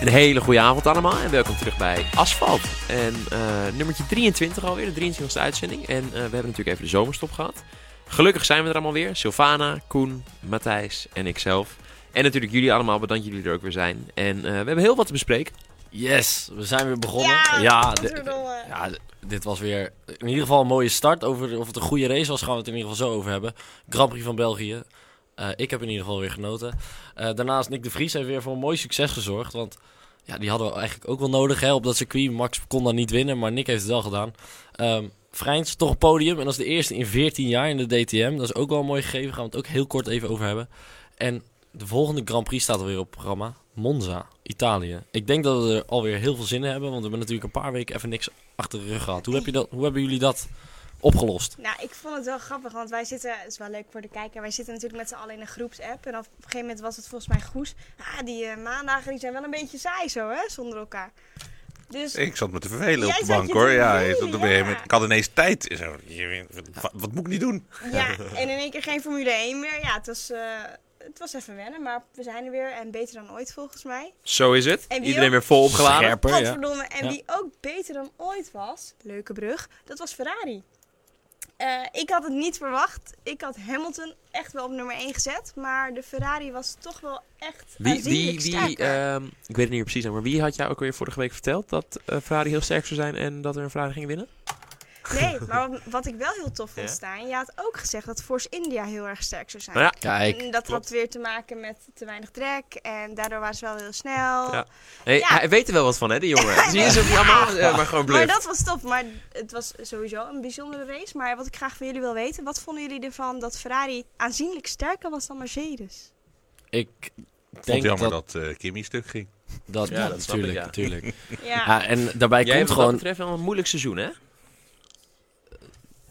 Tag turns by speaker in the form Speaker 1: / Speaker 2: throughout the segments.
Speaker 1: Een hele goede avond allemaal en welkom terug bij Asfalt. En eh nummertje 23 alweer, de 23e uitzending. En eh, we hebben natuurlijk even de zomerstop gehad. Gelukkig zijn we er allemaal weer. Sylvana, Koen, Matthijs en ikzelf. En natuurlijk jullie allemaal, bedankt dat jullie er ook weer zijn. En eh, we hebben heel wat te bespreken.
Speaker 2: Yes, we zijn weer begonnen.
Speaker 3: Ja,
Speaker 2: di-
Speaker 3: godverdomme.
Speaker 2: ja, d- dit was weer in ieder geval een mooie start. Over of het een goede race was, gaan we het in ieder geval zo over hebben. Grand Prix van België. Eh, ik heb in ieder geval weer genoten. Eh, daarnaast Nick de Vries heeft weer voor een mooi succes gezorgd. Want ja, die hadden we eigenlijk ook wel nodig hè, op dat circuit. Max kon dan niet winnen, maar Nick heeft het wel gedaan. Ehm Vrijns, toch een podium. En dat is de eerste in 14 jaar in de DTM. Dat is ook wel een mooi gegeven. Gaan we het ook heel kort even over hebben. En de volgende Grand Prix staat alweer op het programma. Monza, Italië. Ik denk dat we er alweer heel veel zin in hebben. Want we hebben natuurlijk een paar weken even niks achter de rug gehad. Hoe, heb je dat, hoe hebben jullie dat opgelost?
Speaker 3: Nou, ik vond het wel grappig, want wij zitten, het is wel leuk voor de kijker, wij zitten natuurlijk met z'n allen in een groepsapp. En op een gegeven moment was het volgens mij Goes. Ah, die eh, maandagen die zijn wel een beetje saai zo, hè, zonder elkaar. Dus
Speaker 4: Ik zat me te
Speaker 3: Jij
Speaker 4: vervelen op de
Speaker 3: zat
Speaker 4: bank
Speaker 3: je
Speaker 4: hoor.
Speaker 3: te
Speaker 4: Ja,
Speaker 3: vervelen,
Speaker 4: je zat er weer
Speaker 3: ja.
Speaker 4: met- ik had ineens tijd. Zo, je- wat, wat moet ik niet doen?
Speaker 3: ja, en in één keer geen Formule 1 meer. Ja, het was, eh, het was even wennen, maar we zijn er weer en beter dan ooit volgens mij.
Speaker 1: Zo is het.
Speaker 3: En wie
Speaker 1: Iedereen
Speaker 3: ook?
Speaker 1: weer vol opgeladen.
Speaker 2: Scherper, ja.
Speaker 3: Godverdomme. En
Speaker 2: Ja.
Speaker 3: wie ook beter dan ooit was, leuke brug, dat was Ferrari. Eh, ik had het niet verwacht. Ik had Hamilton echt wel op nummer 1 gezet. Maar de Ferrari was toch wel echt
Speaker 1: Wie, wie,
Speaker 3: aanzienlijk
Speaker 1: wie,
Speaker 3: sterker.
Speaker 1: ehm, ik weet het niet precies, maar wie had jou ook weer vorige week verteld dat eh, Ferrari heel sterk zou zijn en dat er een Ferrari ging winnen?
Speaker 3: Nee, maar wat, wat ik wel heel tof vond
Speaker 1: Ja?
Speaker 3: staan. Je had ook gezegd dat Force India heel erg sterk zou zijn.
Speaker 1: Nou ja,
Speaker 2: Kijk,
Speaker 3: En dat had weer te maken met te weinig drek. En daardoor waren ze wel heel snel.
Speaker 1: Ja. Hey,
Speaker 3: Ja.
Speaker 1: Hij weet er wel wat van, hè, die jongen. Zie je ze ook niet allemaal, eh, maar gewoon bluff.
Speaker 3: Maar dat was tof. Maar het was sowieso een bijzondere race. Maar wat ik graag van jullie wil weten. Wat vonden jullie ervan dat Ferrari aanzienlijk sterker was dan Mercedes?
Speaker 2: ik
Speaker 4: Ik vond
Speaker 2: denk
Speaker 4: het jammer
Speaker 2: dat...
Speaker 4: dat, eh, Kimmy stuk ging.
Speaker 2: dat,
Speaker 1: Ja,
Speaker 2: ja,
Speaker 1: dat snap
Speaker 2: natuurlijk,
Speaker 1: ik, ja.
Speaker 2: natuurlijk.
Speaker 3: Ja.
Speaker 2: Ja, en daarbij
Speaker 1: Jij hebt wat
Speaker 2: komt
Speaker 1: dat
Speaker 2: gewoon...
Speaker 1: betreft wel een moeilijk seizoen, hè?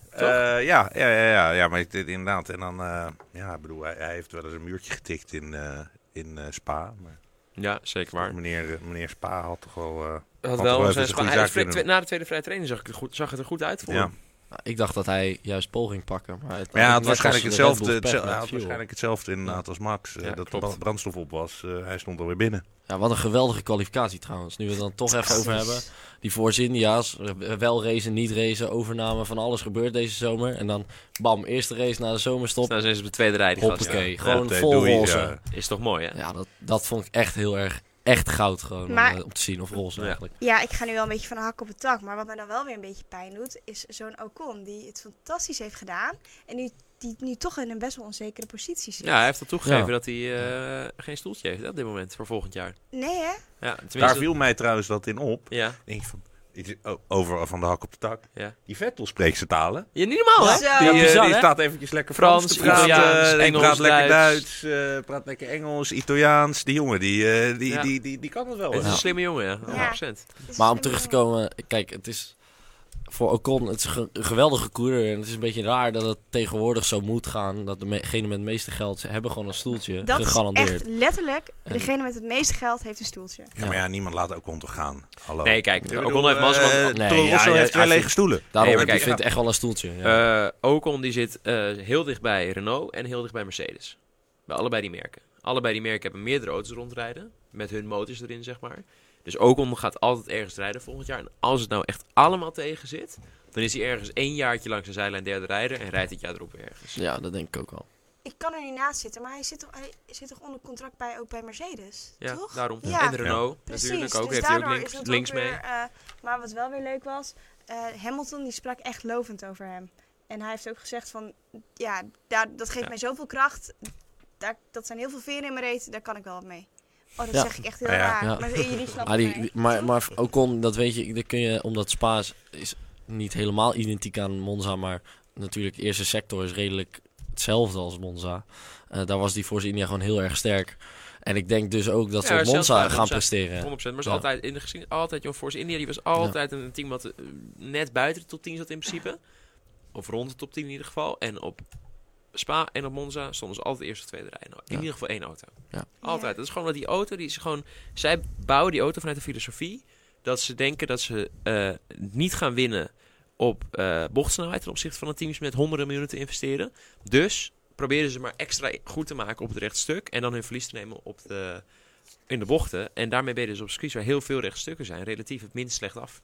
Speaker 4: Eh, ja, ja, ja, ja, ja, maar ik, dit- inderdaad. En dan, eh, ja, ik bedoel, hij, hij heeft wel eens een muurtje getikt in, eh, in eh, Spa. Maar
Speaker 1: Ja, zeker
Speaker 4: meneer, eh, meneer Spa had toch wel... eh,
Speaker 1: Had
Speaker 4: Want
Speaker 1: wel een
Speaker 4: wel even een goede
Speaker 1: hij-
Speaker 4: zaak
Speaker 1: twee-
Speaker 4: kunnen
Speaker 1: na de tweede vrije training zag, ik het goed, zag het er goed uit voor
Speaker 4: ja.
Speaker 1: hem.
Speaker 2: Nou, Ik dacht dat hij juist pol ging pakken. Maar, het
Speaker 4: Maar ja,
Speaker 2: net
Speaker 4: hij had
Speaker 2: als
Speaker 4: waarschijnlijk
Speaker 2: de Red Bull
Speaker 4: hetzelfde,
Speaker 2: pech
Speaker 4: hetzelfde,
Speaker 2: met
Speaker 4: hij had
Speaker 2: fuel.
Speaker 4: waarschijnlijk hetzelfde inderdaad als Max. eh,
Speaker 1: Ja,
Speaker 4: dat de
Speaker 1: klopt.
Speaker 4: bra- brandstof op was. eh, hij stond alweer binnen.
Speaker 2: Ja, wat een geweldige kwalificatie trouwens. Nu we het dan toch even over hebben. Die Force India's, eh, wel racen, niet racen, overname, van alles gebeurt deze zomer. En dan bam, eerste race na de zomerstop.
Speaker 1: Nou zijn ze op de tweede rij. Die gasten.
Speaker 2: Hoppakee, gewoon
Speaker 4: Oké,
Speaker 2: vol
Speaker 4: doei,
Speaker 2: roze.
Speaker 4: ja.
Speaker 2: Ja,
Speaker 1: Is toch mooi, hè?
Speaker 2: dat, dat vond ik echt heel erg, echt goud gewoon
Speaker 3: Maar-
Speaker 2: om, eh, om te zien. Of roze
Speaker 1: Ja.
Speaker 2: eigenlijk.
Speaker 3: Ja, ik ga nu wel een beetje van de hak op de tak. Maar wat mij dan wel weer een beetje pijn doet, is zo'n Ocon die het fantastisch heeft gedaan. En die, die nu toch in een best wel onzekere positie zit.
Speaker 1: Ja, hij heeft al toegegeven
Speaker 2: Ja.
Speaker 1: dat hij eh, geen stoeltje heeft hè, op dit moment voor volgend jaar.
Speaker 3: Nee hè?
Speaker 1: Ja, tenminste...
Speaker 4: Daar viel mij trouwens dat in op.
Speaker 1: Ja,
Speaker 4: Ik denk van, ik- oh, over van de hak op de tak.
Speaker 1: ja.
Speaker 4: Die Vettel spreekt zijn talen.
Speaker 1: Ja, niet normaal, hè?
Speaker 3: Zo.
Speaker 4: Die,
Speaker 3: Ja,
Speaker 4: eh,
Speaker 2: bizar,
Speaker 4: die
Speaker 2: hè?
Speaker 4: staat eventjes lekker
Speaker 1: Frans,
Speaker 4: Frans, te praten.
Speaker 1: Italiaans,
Speaker 4: Eh, die
Speaker 1: Engels,
Speaker 4: praat lekker
Speaker 1: Duits.
Speaker 4: Duits, eh, praat lekker Engels, Italiaans. Die jongen, die, eh, die,
Speaker 1: Ja.
Speaker 4: die, die, die kan het wel.
Speaker 1: Het is
Speaker 4: hè?
Speaker 1: een slimme jongen, ja. 100%.
Speaker 3: Dus
Speaker 2: Maar om
Speaker 3: ik
Speaker 2: terug te
Speaker 3: bedoel-
Speaker 2: komen, kijk, het is voor Ocon het is ge- een geweldige coureur. En het is een beetje raar dat het tegenwoordig zo moet gaan. Dat degene met het meeste geld, ze hebben gewoon een stoeltje
Speaker 3: Dat
Speaker 2: gegarandeerd.
Speaker 3: is echt letterlijk,
Speaker 2: En-
Speaker 3: degene met het meeste geld heeft een stoeltje.
Speaker 4: Ja, maar ja, niemand laat ook ondergaan. Hallo.
Speaker 1: Nee, kijk, Ocon heeft mazzel, want-
Speaker 4: mazzel.
Speaker 2: Nee,
Speaker 4: eh, Toro
Speaker 2: ja,
Speaker 4: Rosso
Speaker 2: ja,
Speaker 4: heeft twee
Speaker 2: hij
Speaker 4: lege
Speaker 2: vindt-
Speaker 4: stoelen.
Speaker 2: Daarom,
Speaker 1: Nee, maar
Speaker 2: ik
Speaker 1: kijk,
Speaker 2: vind echt wel een stoeltje. Ja.
Speaker 1: Eh, Ocon die zit eh, heel dicht bij Renault en heel dicht bij Mercedes. Bij allebei die merken. Allebei die merken hebben meerdere auto's rondrijden. Met hun motors erin, zeg maar. Dus Ocon gaat altijd ergens rijden volgend jaar. En als het nou echt allemaal tegen zit... dan is hij ergens één jaartje langs de zijlijn derde rijder... en rijdt het jaar erop weer ergens.
Speaker 2: ja, dat denk ik ook wel.
Speaker 3: Ik kan er niet naast zitten, maar hij zit toch, hij zit toch onder contract bij, ook bij Mercedes?
Speaker 1: Ja,
Speaker 3: toch?
Speaker 1: daarom.
Speaker 3: Ja.
Speaker 1: En Renault
Speaker 3: Precies,
Speaker 1: natuurlijk ook.
Speaker 3: dus
Speaker 1: heeft hij
Speaker 3: daardoor
Speaker 1: ook
Speaker 3: is
Speaker 1: links,
Speaker 3: dat
Speaker 1: links
Speaker 3: ook
Speaker 1: mee.
Speaker 3: weer, eh, maar wat wel weer leuk was, eh, Hamilton die sprak echt lovend over hem. En hij heeft ook gezegd van, ja, daar, dat geeft
Speaker 1: Ja.
Speaker 3: mij zoveel kracht. Daar, dat zijn heel veel veren in mijn reet, daar kan ik wel wat mee. Oh, dat
Speaker 2: Ja.
Speaker 3: zeg ik echt heel
Speaker 4: Ja, ja.
Speaker 3: raar.
Speaker 2: Ja.
Speaker 3: Maar jullie snappen
Speaker 2: Ah, die,
Speaker 3: mij.
Speaker 2: die- maar, maar Ocon, dat weet je, dat kun je, omdat Spa is, is niet helemaal identiek aan Monza, maar natuurlijk, de eerste sector is redelijk hetzelfde als Monza. Eh, daar was die Force India gewoon heel erg sterk. En ik denk dus ook dat ze
Speaker 1: Ja,
Speaker 2: op
Speaker 1: zelfs
Speaker 2: Monza
Speaker 1: bij
Speaker 2: gaan
Speaker 1: Monza.
Speaker 2: presteren.
Speaker 1: 100%. Maar is
Speaker 2: Ja.
Speaker 1: altijd in de geschiedenis, altijd John Force India. Die was altijd een team wat eh, net buiten de top 10 zat in principe. Of rond de top 10 in ieder geval. En op Spa en op Monza stonden ze altijd eerst of tweede rij. Nou, In
Speaker 2: Ja.
Speaker 1: ieder geval één auto.
Speaker 2: Ja.
Speaker 1: Altijd.
Speaker 3: Ja.
Speaker 1: Dat is gewoon dat die auto, die is gewoon... Zij bouwen die auto vanuit de filosofie dat ze denken dat ze eh, niet gaan winnen op eh bochtsnelheid ten opzichte van de teams met honderden miljoenen te investeren. Dus proberen ze maar extra goed te maken op het rechtstuk en dan hun verlies te nemen op de in de bochten. En daarmee ben je dus op circuits waar heel veel rechtstukken zijn, relatief het minst slecht af.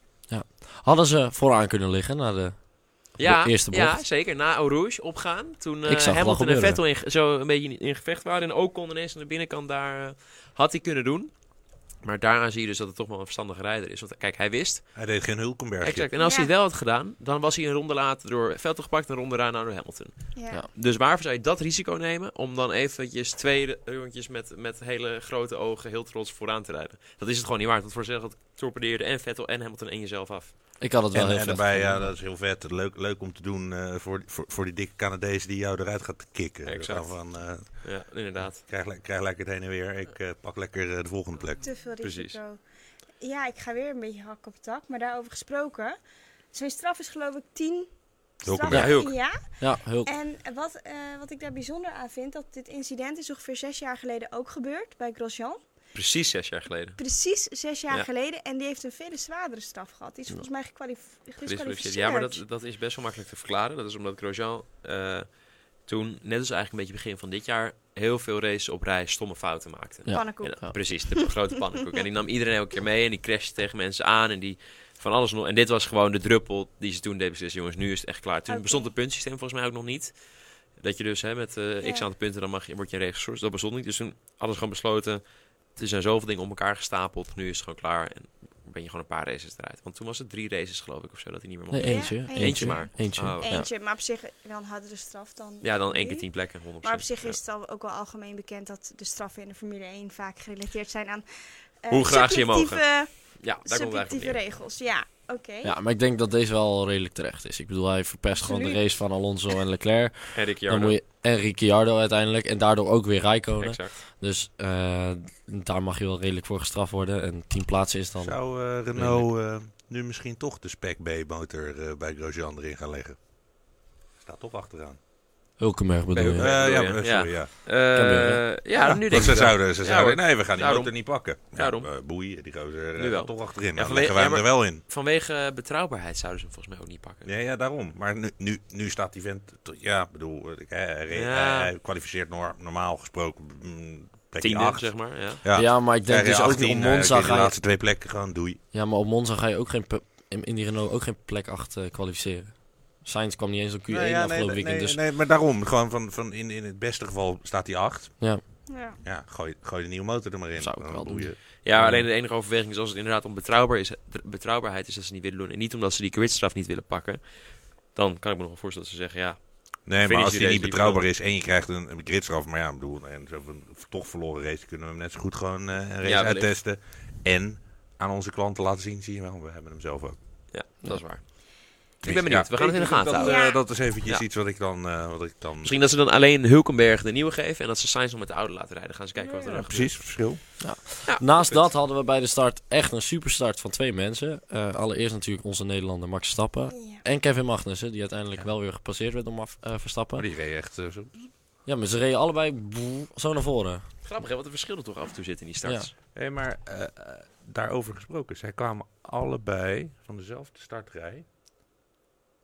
Speaker 2: Hadden ze vooraan kunnen liggen naar de...
Speaker 1: Ja,
Speaker 2: De eerste bocht.
Speaker 1: ja zeker. Na Eau Rouge opgaan. Toen eh,
Speaker 2: Ik zag het wel
Speaker 1: Hamilton en
Speaker 2: gebeuren.
Speaker 1: Vettel in, ge- zo een beetje in gevecht waren. En ook konden ineens aan de binnenkant daar... eh, had hij kunnen doen. Maar daaraan zie je dus dat het toch wel een verstandige rijder is. Want kijk, hij wist.
Speaker 4: Hij deed geen Hulkenbergje.
Speaker 1: Exact. En als
Speaker 3: Ja.
Speaker 1: hij het wel had gedaan, dan was hij een ronde later door Vettel gepakt en een ronde daarna door Hamilton.
Speaker 3: Ja.
Speaker 2: Ja.
Speaker 1: Dus waarvoor zou je dat risico nemen om dan eventjes twee rondjes met, met hele grote ogen heel trots vooraan te rijden? Dat is het gewoon niet waard, want voor zelf het torpedeerde en Vettel en Hamilton en jezelf af.
Speaker 2: Ik had het wel
Speaker 4: En,
Speaker 2: heel
Speaker 4: en
Speaker 2: slecht
Speaker 4: daarbij, ja,
Speaker 2: gevonden.
Speaker 4: dat is heel vet. Leuk, leuk om te doen eh, voor, voor, voor die dikke Canadees die jou eruit gaat kicken.
Speaker 1: Exact.
Speaker 4: Zo Van, eh,
Speaker 1: Ja, inderdaad.
Speaker 4: krijg, le- krijg lekker het heen en weer. Ik eh, pak lekker eh, de volgende plek.
Speaker 3: Te veel
Speaker 1: Precies.
Speaker 3: risico. Ja, ik ga weer een beetje hak op het dak, maar daarover gesproken. Zijn straf is geloof ik 10.
Speaker 4: Hulkenberg.
Speaker 1: Ja, Hulk.
Speaker 3: Ja,
Speaker 2: Ja, heel...
Speaker 3: en wat, eh, wat ik daar bijzonder aan vind, dat dit incident is ongeveer zes jaar geleden ook gebeurd bij Grosjean.
Speaker 1: Precies zes jaar geleden.
Speaker 3: Precies zes jaar
Speaker 1: Ja.
Speaker 3: geleden en die heeft een veel zwaardere straf gehad. Die is volgens mij gekwalif-
Speaker 1: Gedisqualificeerd.
Speaker 3: gedisqualificeerd.
Speaker 1: Ja, maar dat, dat is best wel makkelijk te verklaren. Dat is omdat Grosjean eh, toen, net als eigenlijk een beetje begin van dit jaar, heel veel races op rij stomme fouten maakte.
Speaker 2: Ja.
Speaker 3: Pannenkoek.
Speaker 1: Ja,
Speaker 2: Ja.
Speaker 1: Precies, de grote pannenkoek. En die nam iedereen elke keer mee en die crashte tegen mensen aan en die van alles nog. En dit was gewoon de druppel die ze toen deed beslissen. Jongens, nu is het echt klaar. Toen
Speaker 3: Oké.
Speaker 1: bestond het puntsysteem volgens mij ook nog niet. Dat je dus hè, met eh, x
Speaker 3: Ja.
Speaker 1: aantal punten, dan mag je, word je een race geschorst. Dat bestond niet. Dus toen alles gewoon besloten. Er zijn zoveel dingen op elkaar gestapeld. Nu is het gewoon klaar. En ben je gewoon een paar races eruit. Want toen was het drie races geloof ik of zo dat hij niet meer mocht.
Speaker 2: Nee,
Speaker 3: Ja,
Speaker 2: eentje.
Speaker 3: eh, eentje.
Speaker 1: Eentje maar.
Speaker 2: Eentje.
Speaker 1: Oh.
Speaker 2: Ja.
Speaker 3: Eentje, maar op zich wel een hardere straf dan.
Speaker 1: ja, dan één
Speaker 3: nu.
Speaker 1: keer tien plekken. 100%.
Speaker 3: Maar op zich
Speaker 1: Ja.
Speaker 3: is het al, ook wel algemeen bekend dat de straffen in de Formule 1 vaak gerelateerd zijn aan. eh,
Speaker 1: Hoe graag ze je mogen.
Speaker 3: subjectieve-
Speaker 1: Ja, daar komt het eigenlijk
Speaker 3: Subjectieve
Speaker 1: op neer.
Speaker 3: regels, ja. Oké.
Speaker 2: Ja, maar ik denk dat deze wel redelijk terecht is. Ik bedoel, hij verpest gewoon de
Speaker 3: Absoluut.
Speaker 2: race van Alonso en Leclerc.
Speaker 1: En Ricciardo.
Speaker 2: Dan moet je, en Ricciardo uiteindelijk. En daardoor ook weer Rijkonen.
Speaker 1: Exact.
Speaker 2: Dus eh, daar mag je wel redelijk voor gestraft worden. En tien plaatsen is dan...
Speaker 4: Zou eh, Renault eh, nu misschien toch de Spec B-motor eh, bij Grosjean erin gaan leggen? Staat toch achteraan.
Speaker 2: Hulkenberg bedoel
Speaker 1: Nee,
Speaker 2: je?
Speaker 1: Hulkenberg.
Speaker 4: Eh, ja,
Speaker 1: bedoel je?
Speaker 4: sorry, ja.
Speaker 1: Eh,
Speaker 2: gebeuren.
Speaker 1: ja, nu
Speaker 4: Want
Speaker 1: denk ik
Speaker 4: ze
Speaker 1: wel.
Speaker 4: zouden, ze
Speaker 1: Ja,
Speaker 4: zouden,
Speaker 1: hoor.
Speaker 4: nee, we gaan die
Speaker 1: Daarom.
Speaker 4: motor niet pakken. Ja,
Speaker 1: Daarom.
Speaker 4: eh, boeien, die gozer
Speaker 1: Nu
Speaker 4: eh,
Speaker 1: wel.
Speaker 4: gaat toch achterin. Dan
Speaker 1: vanwege-
Speaker 4: leggen wij
Speaker 1: ja,
Speaker 4: hem er
Speaker 1: maar-
Speaker 4: wel in.
Speaker 1: Vanwege eh, betrouwbaarheid zouden ze hem volgens mij ook niet pakken.
Speaker 4: Ja, ja, daarom. Maar nu, nu, nu staat die vent... tot- Ja, ik bedoel, eh, hij, hij, hij-
Speaker 1: Ja.
Speaker 4: hij kwalificeert nor- normaal gesproken mm, plekje
Speaker 1: Tiende,
Speaker 4: 8.
Speaker 1: zeg maar. Ja.
Speaker 4: Ja,
Speaker 2: Ja, maar ik denk
Speaker 4: Krijg
Speaker 2: dus ook
Speaker 4: je
Speaker 2: niet
Speaker 4: 18,
Speaker 2: op
Speaker 4: eh,
Speaker 2: Monza
Speaker 4: kun je de
Speaker 2: ga je...
Speaker 4: laatste twee plekken gewoon doei.
Speaker 2: Ja, maar op Monza ga je ook geen... pu- In in die Renault ook geen plek 8 eh, kwalificeren. Sainz kwam niet eens op Q1
Speaker 4: Nee, Nou ja, nee,
Speaker 2: afgelopen
Speaker 4: nee,
Speaker 2: weekend. Dus
Speaker 4: nee, maar daarom. Gewoon van, van in, in het beste geval staat hij 8.
Speaker 3: Ja.
Speaker 4: Ja, gooi, gooi de nieuwe motor er maar in.
Speaker 2: Zou ik
Speaker 4: Dan
Speaker 2: wel doen.
Speaker 4: boeien.
Speaker 1: ja, alleen de enige overweging is als het inderdaad om betrouwbaar is, betrouwbaarheid is dat ze het niet willen doen. En niet omdat ze die kwitstraf niet willen pakken. Dan kan ik me nog wel voorstellen dat ze zeggen, ja,
Speaker 4: Nee, maar
Speaker 1: Finish
Speaker 4: als
Speaker 1: die
Speaker 4: hij niet
Speaker 1: race
Speaker 4: betrouwbaar
Speaker 1: liever.
Speaker 4: is en je krijgt een, een gridstraf, maar ja, ik bedoel, en zo van, toch verloren race, kunnen we hem net zo goed gewoon eh, een race
Speaker 1: wellicht.
Speaker 4: uittesten. En aan onze klanten laten zien, zie je wel, we hebben hem zelf ook.
Speaker 1: ja dat is waar.
Speaker 4: Dus
Speaker 1: ik ben benieuwd,
Speaker 4: ja,
Speaker 1: we gaan het in de gaten
Speaker 4: dat,
Speaker 1: houden.
Speaker 4: eh,
Speaker 3: Ja.
Speaker 4: dat is eventjes
Speaker 1: Ja.
Speaker 4: iets wat ik dan... eh, wat ik dan
Speaker 1: Misschien dat ze dan alleen Hulkenberg de nieuwe geven en dat ze Sainz nog met de oude laten rijden. Gaan ze kijken wat er
Speaker 4: Ja,
Speaker 1: dan
Speaker 4: precies, verschil.
Speaker 2: Naast
Speaker 1: punt.
Speaker 2: dat hadden we bij de start echt een superstart van twee mensen. Eh, allereerst natuurlijk onze Nederlander Max Stappen.
Speaker 3: Ja.
Speaker 2: En Kevin Magnussen, die uiteindelijk
Speaker 4: Ja.
Speaker 2: wel weer gepasseerd werd door Maf- eh, Verstappen.
Speaker 4: Maar die reed echt eh, zo.
Speaker 2: Ja, maar ze reden allebei boe- zo naar voren.
Speaker 1: gebeurt. Grappig hè, wat de verschillen toch af en toe zitten in die starts.
Speaker 4: Hé, maar eh, eh, daarover gesproken, zij kwamen allebei van dezelfde startrij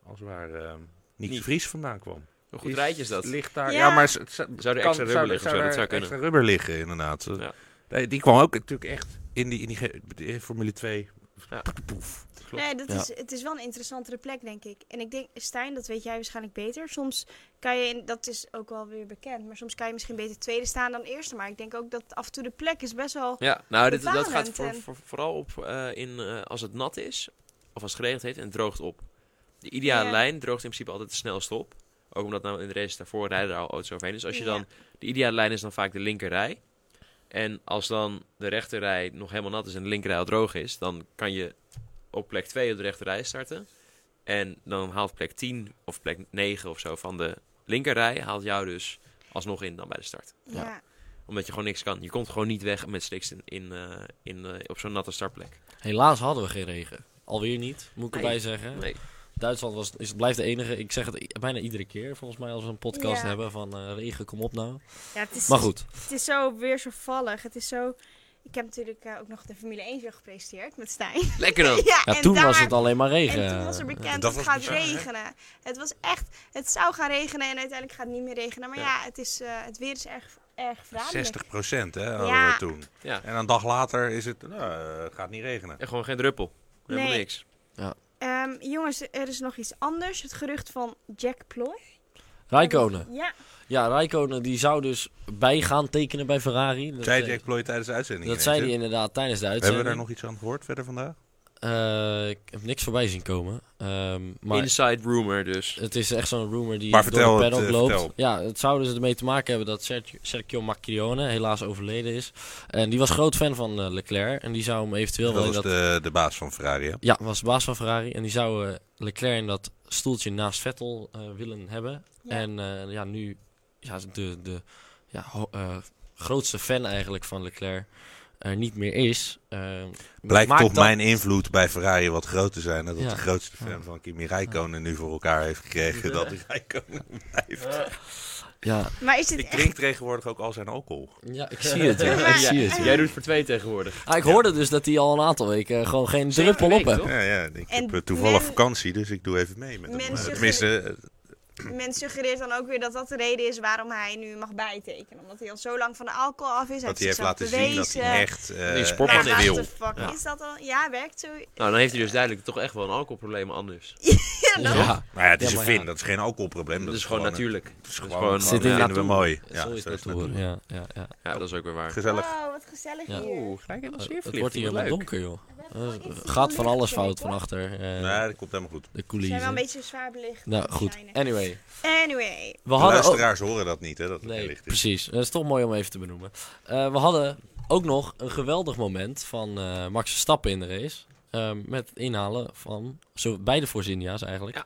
Speaker 4: als waar eh Nick de
Speaker 1: Niet.
Speaker 4: Vries vandaan kwam.
Speaker 1: Hoe goed rijtje is dat?
Speaker 4: Ligt daar, ja.
Speaker 3: Ja.
Speaker 4: maar ze- ze-
Speaker 1: Zou er
Speaker 4: kan-
Speaker 1: extra rubber
Speaker 4: zou-
Speaker 1: liggen of
Speaker 4: zou
Speaker 1: zo?
Speaker 4: daar
Speaker 1: Dat zou kunnen.
Speaker 4: extra rubber liggen, inderdaad.
Speaker 1: Ja.
Speaker 4: Nee, die kwam ook natuurlijk echt in die, in die, ge- die Formule 2.
Speaker 1: Ja.
Speaker 4: Poef.
Speaker 1: Klopt.
Speaker 3: Nee, dat
Speaker 2: Ja.
Speaker 3: is, het is wel een interessantere plek, denk ik. En ik denk, Stijn, dat weet jij waarschijnlijk beter. Soms kan je, in, dat is ook wel weer bekend, maar soms kan je misschien beter tweede staan dan eerste. Maar ik denk ook dat af en toe de plek is best wel...
Speaker 1: Ja, nou, dit, dat
Speaker 3: Bepalend
Speaker 1: gaat voor,
Speaker 3: en-
Speaker 1: voor- vooral op eh, in, eh, als het nat is, of als het geregend heeft en het droogt op. De ideale
Speaker 3: Ja.
Speaker 1: lijn droogt in principe altijd de snelste op. Ook omdat nou in de races daarvoor rijden er al auto's overheen. Dus als je
Speaker 3: Ja.
Speaker 1: dan, de ideale lijn is dan vaak de linkerrij. En als dan de rechterrij nog helemaal nat is en de linkerrij al droog is, dan kan je op plek 2 op de rechterrij starten. En dan haalt plek 10 of plek 9 of zo van de linkerrij, haalt jou dus alsnog in dan bij de start
Speaker 3: Ja.
Speaker 2: Ja.
Speaker 1: Omdat je gewoon niks kan. Je komt gewoon niet weg met slicks in, in, eh, in, eh, op zo'n natte startplek.
Speaker 2: Helaas hadden we geen regen. Alweer niet, moet ik
Speaker 1: Nee.
Speaker 2: erbij zeggen.
Speaker 1: Nee.
Speaker 2: Duitsland was, is, blijft de enige. Ik zeg het i- bijna iedere keer, volgens mij, als we een podcast
Speaker 3: Ja.
Speaker 2: hebben van eh, regen, kom op nou.
Speaker 3: Ja, het is,
Speaker 2: Maar goed,
Speaker 3: Het is zo weerzovallig. Het is zo... Ik heb natuurlijk eh, ook nog de Formule 1 weer gepresenteerd met Stijn.
Speaker 1: Lekker dan!
Speaker 3: Ja,
Speaker 2: ja,
Speaker 3: en
Speaker 2: toen
Speaker 3: daar-
Speaker 2: was het alleen maar regen.
Speaker 3: En toen was er bekend
Speaker 4: Dat
Speaker 3: dat het
Speaker 4: was
Speaker 3: gaat
Speaker 4: bizar, hè?
Speaker 3: regenen. Het was echt, het zou gaan regenen en uiteindelijk gaat het niet meer regenen. Maar
Speaker 1: Ja.
Speaker 3: ja, het, is, eh, het weer is erg, erg verraderlijk.
Speaker 4: 60 procent, hè, hadden
Speaker 3: Ja.
Speaker 4: we toen.
Speaker 1: Ja.
Speaker 4: En een dag later is het, nou, eh, het gaat niet regenen.
Speaker 1: En gewoon geen druppel. Helemaal
Speaker 3: Nee.
Speaker 1: niks.
Speaker 3: Ehm, jongens, er is nog iets anders. Het gerucht van Jack Ploy.
Speaker 2: Rijkonen.
Speaker 3: Ja,
Speaker 2: Ja, Rijkonen die zou dus bij gaan tekenen bij Ferrari. Dat,
Speaker 4: Zij
Speaker 2: eh,
Speaker 4: Jack Ploy tijdens de uitzending.
Speaker 2: dat
Speaker 4: ineens,
Speaker 2: zei
Speaker 4: hè?
Speaker 2: hij inderdaad tijdens de
Speaker 4: Hebben we
Speaker 2: uitzending.
Speaker 4: daar nog iets aan gehoord verder vandaag?
Speaker 2: Eh, ik heb niks voorbij zien komen. Ehm, maar
Speaker 1: Inside rumor dus.
Speaker 2: het is echt zo'n rumor die
Speaker 4: Maar
Speaker 2: door
Speaker 4: vertel
Speaker 2: de
Speaker 4: het,
Speaker 2: paddock
Speaker 4: eh,
Speaker 2: loopt.
Speaker 4: vertel.
Speaker 2: Ja, het zou dus ermee te maken hebben dat Sergio, Sergio Macchione helaas overleden is. En die was groot fan van eh, Leclerc. En die zou hem eventueel
Speaker 4: Dat
Speaker 2: wel in
Speaker 4: was
Speaker 2: dat...
Speaker 4: de, de baas van Ferrari, hè?
Speaker 2: Ja, was de baas van Ferrari. En die zou eh, Leclerc in dat stoeltje naast Vettel eh, willen hebben.
Speaker 3: Ja.
Speaker 2: En eh, ja, nu ja, de, de ja, ho- eh, grootste fan eigenlijk van Leclerc er niet meer is. eh,
Speaker 4: Blijkt
Speaker 2: maakt
Speaker 4: toch
Speaker 2: dat-
Speaker 4: mijn invloed bij Ferrari wat groot te zijn. Dat
Speaker 2: Ja.
Speaker 4: de grootste fan van Kimi Räikkönen nu voor elkaar heeft gekregen
Speaker 1: Ja.
Speaker 4: dat hij Räikkönen
Speaker 1: Eh.
Speaker 4: blijft.
Speaker 2: Ja,
Speaker 3: maar is dit
Speaker 4: Ik
Speaker 3: echt...
Speaker 4: drink tegenwoordig ook al zijn alcohol.
Speaker 2: ja, ik zie het. Ja,
Speaker 3: Maar-
Speaker 2: ik zie het. ja.
Speaker 1: Jij doet voor twee tegenwoordig.
Speaker 2: Ah, ik hoorde dus dat hij al een aantal weken eh, gewoon geen
Speaker 1: Zeven
Speaker 2: druppel op
Speaker 1: weken,
Speaker 2: heeft.
Speaker 1: toch?
Speaker 4: Ja, ja, ik
Speaker 3: En
Speaker 4: heb eh, toevallig
Speaker 3: men-
Speaker 4: vakantie, dus ik doe even mee met hem.
Speaker 3: Mensen-
Speaker 4: Eh, Tenminste, eh,
Speaker 3: Men suggereert dan ook weer dat dat de reden is waarom hij nu mag bijtekenen. Omdat hij al zo lang van de alcohol af is.
Speaker 4: dat hij
Speaker 3: hij
Speaker 4: heeft
Speaker 3: zichzelf
Speaker 4: laten zien dat
Speaker 3: bewezen.
Speaker 4: hij echt, eh
Speaker 1: Die sportman
Speaker 4: echt
Speaker 3: Ja,
Speaker 1: is.
Speaker 3: what
Speaker 4: wil.
Speaker 3: the fuck
Speaker 1: Ja.
Speaker 3: is dat dan? Ja, werkt zo.
Speaker 1: Nou, dan heeft hij dus duidelijk toch echt wel een alcoholprobleem anders.
Speaker 3: Ja, dan-
Speaker 2: Ja,
Speaker 4: Maar Nou ja, het
Speaker 2: Ja,
Speaker 4: is een
Speaker 2: maar ja.
Speaker 4: vin, dat is geen alcoholprobleem.
Speaker 1: Dat is gewoon
Speaker 4: een-
Speaker 1: natuurlijk.
Speaker 4: Het is
Speaker 1: Dat is
Speaker 4: gewoon,
Speaker 1: gewoon-
Speaker 4: dat
Speaker 1: Zit
Speaker 2: in
Speaker 4: vinden we
Speaker 2: naartoe.
Speaker 4: mooi. Ja,
Speaker 2: zo is het
Speaker 4: naartoe.
Speaker 2: hoor. Ja, ja, ja.
Speaker 1: Ja, dat is ook weer waar.
Speaker 4: Gezellig.
Speaker 3: Wow, Oh, wat gezellig
Speaker 2: Ja.
Speaker 3: hier.
Speaker 1: gelijk helemaal
Speaker 2: Oh, Het, wordt hier helemaal donker, joh.
Speaker 3: We
Speaker 2: Eh,
Speaker 3: hebben gewoon iets
Speaker 2: gaat van
Speaker 3: licht,
Speaker 2: alles
Speaker 3: denk ik,
Speaker 2: fout
Speaker 3: hoor.
Speaker 2: van achter. eh,
Speaker 4: Nee, dat komt helemaal goed.
Speaker 2: de
Speaker 3: We zijn wel een
Speaker 2: coulissen.
Speaker 3: beetje zwaar belicht.
Speaker 2: Nou, goed.
Speaker 3: Zijn er.
Speaker 2: Anyway.
Speaker 3: Anyway.
Speaker 2: We
Speaker 4: De
Speaker 2: hadden ook...
Speaker 4: luisteraars horen dat niet, hè? Dat het
Speaker 2: Nee,
Speaker 4: licht is.
Speaker 2: precies. Dat is toch mooi om even te benoemen. Eh, we hadden ook nog een geweldig moment van eh Max Verstappen in de race. Eh, met het inhalen van zo, beide Force India's eigenlijk.
Speaker 1: Ja.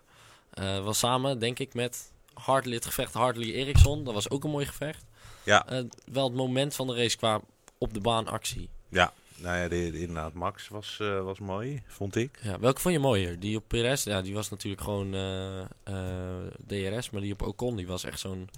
Speaker 2: Eh, was samen, denk ik, met Hartley, het gevecht Hartley Eriksson. Dat was ook een mooi gevecht.
Speaker 4: Ja.
Speaker 2: Eh, wel het moment van de race qua op de baan actie.
Speaker 4: Ja, nou ja, de, de- inderdaad, Max was, eh, was mooi, vond ik.
Speaker 2: Ja, welke vond je mooier? Die op PRS, ja, die was natuurlijk gewoon eh, eh, DRS, maar die op Ocon, die was echt zo'n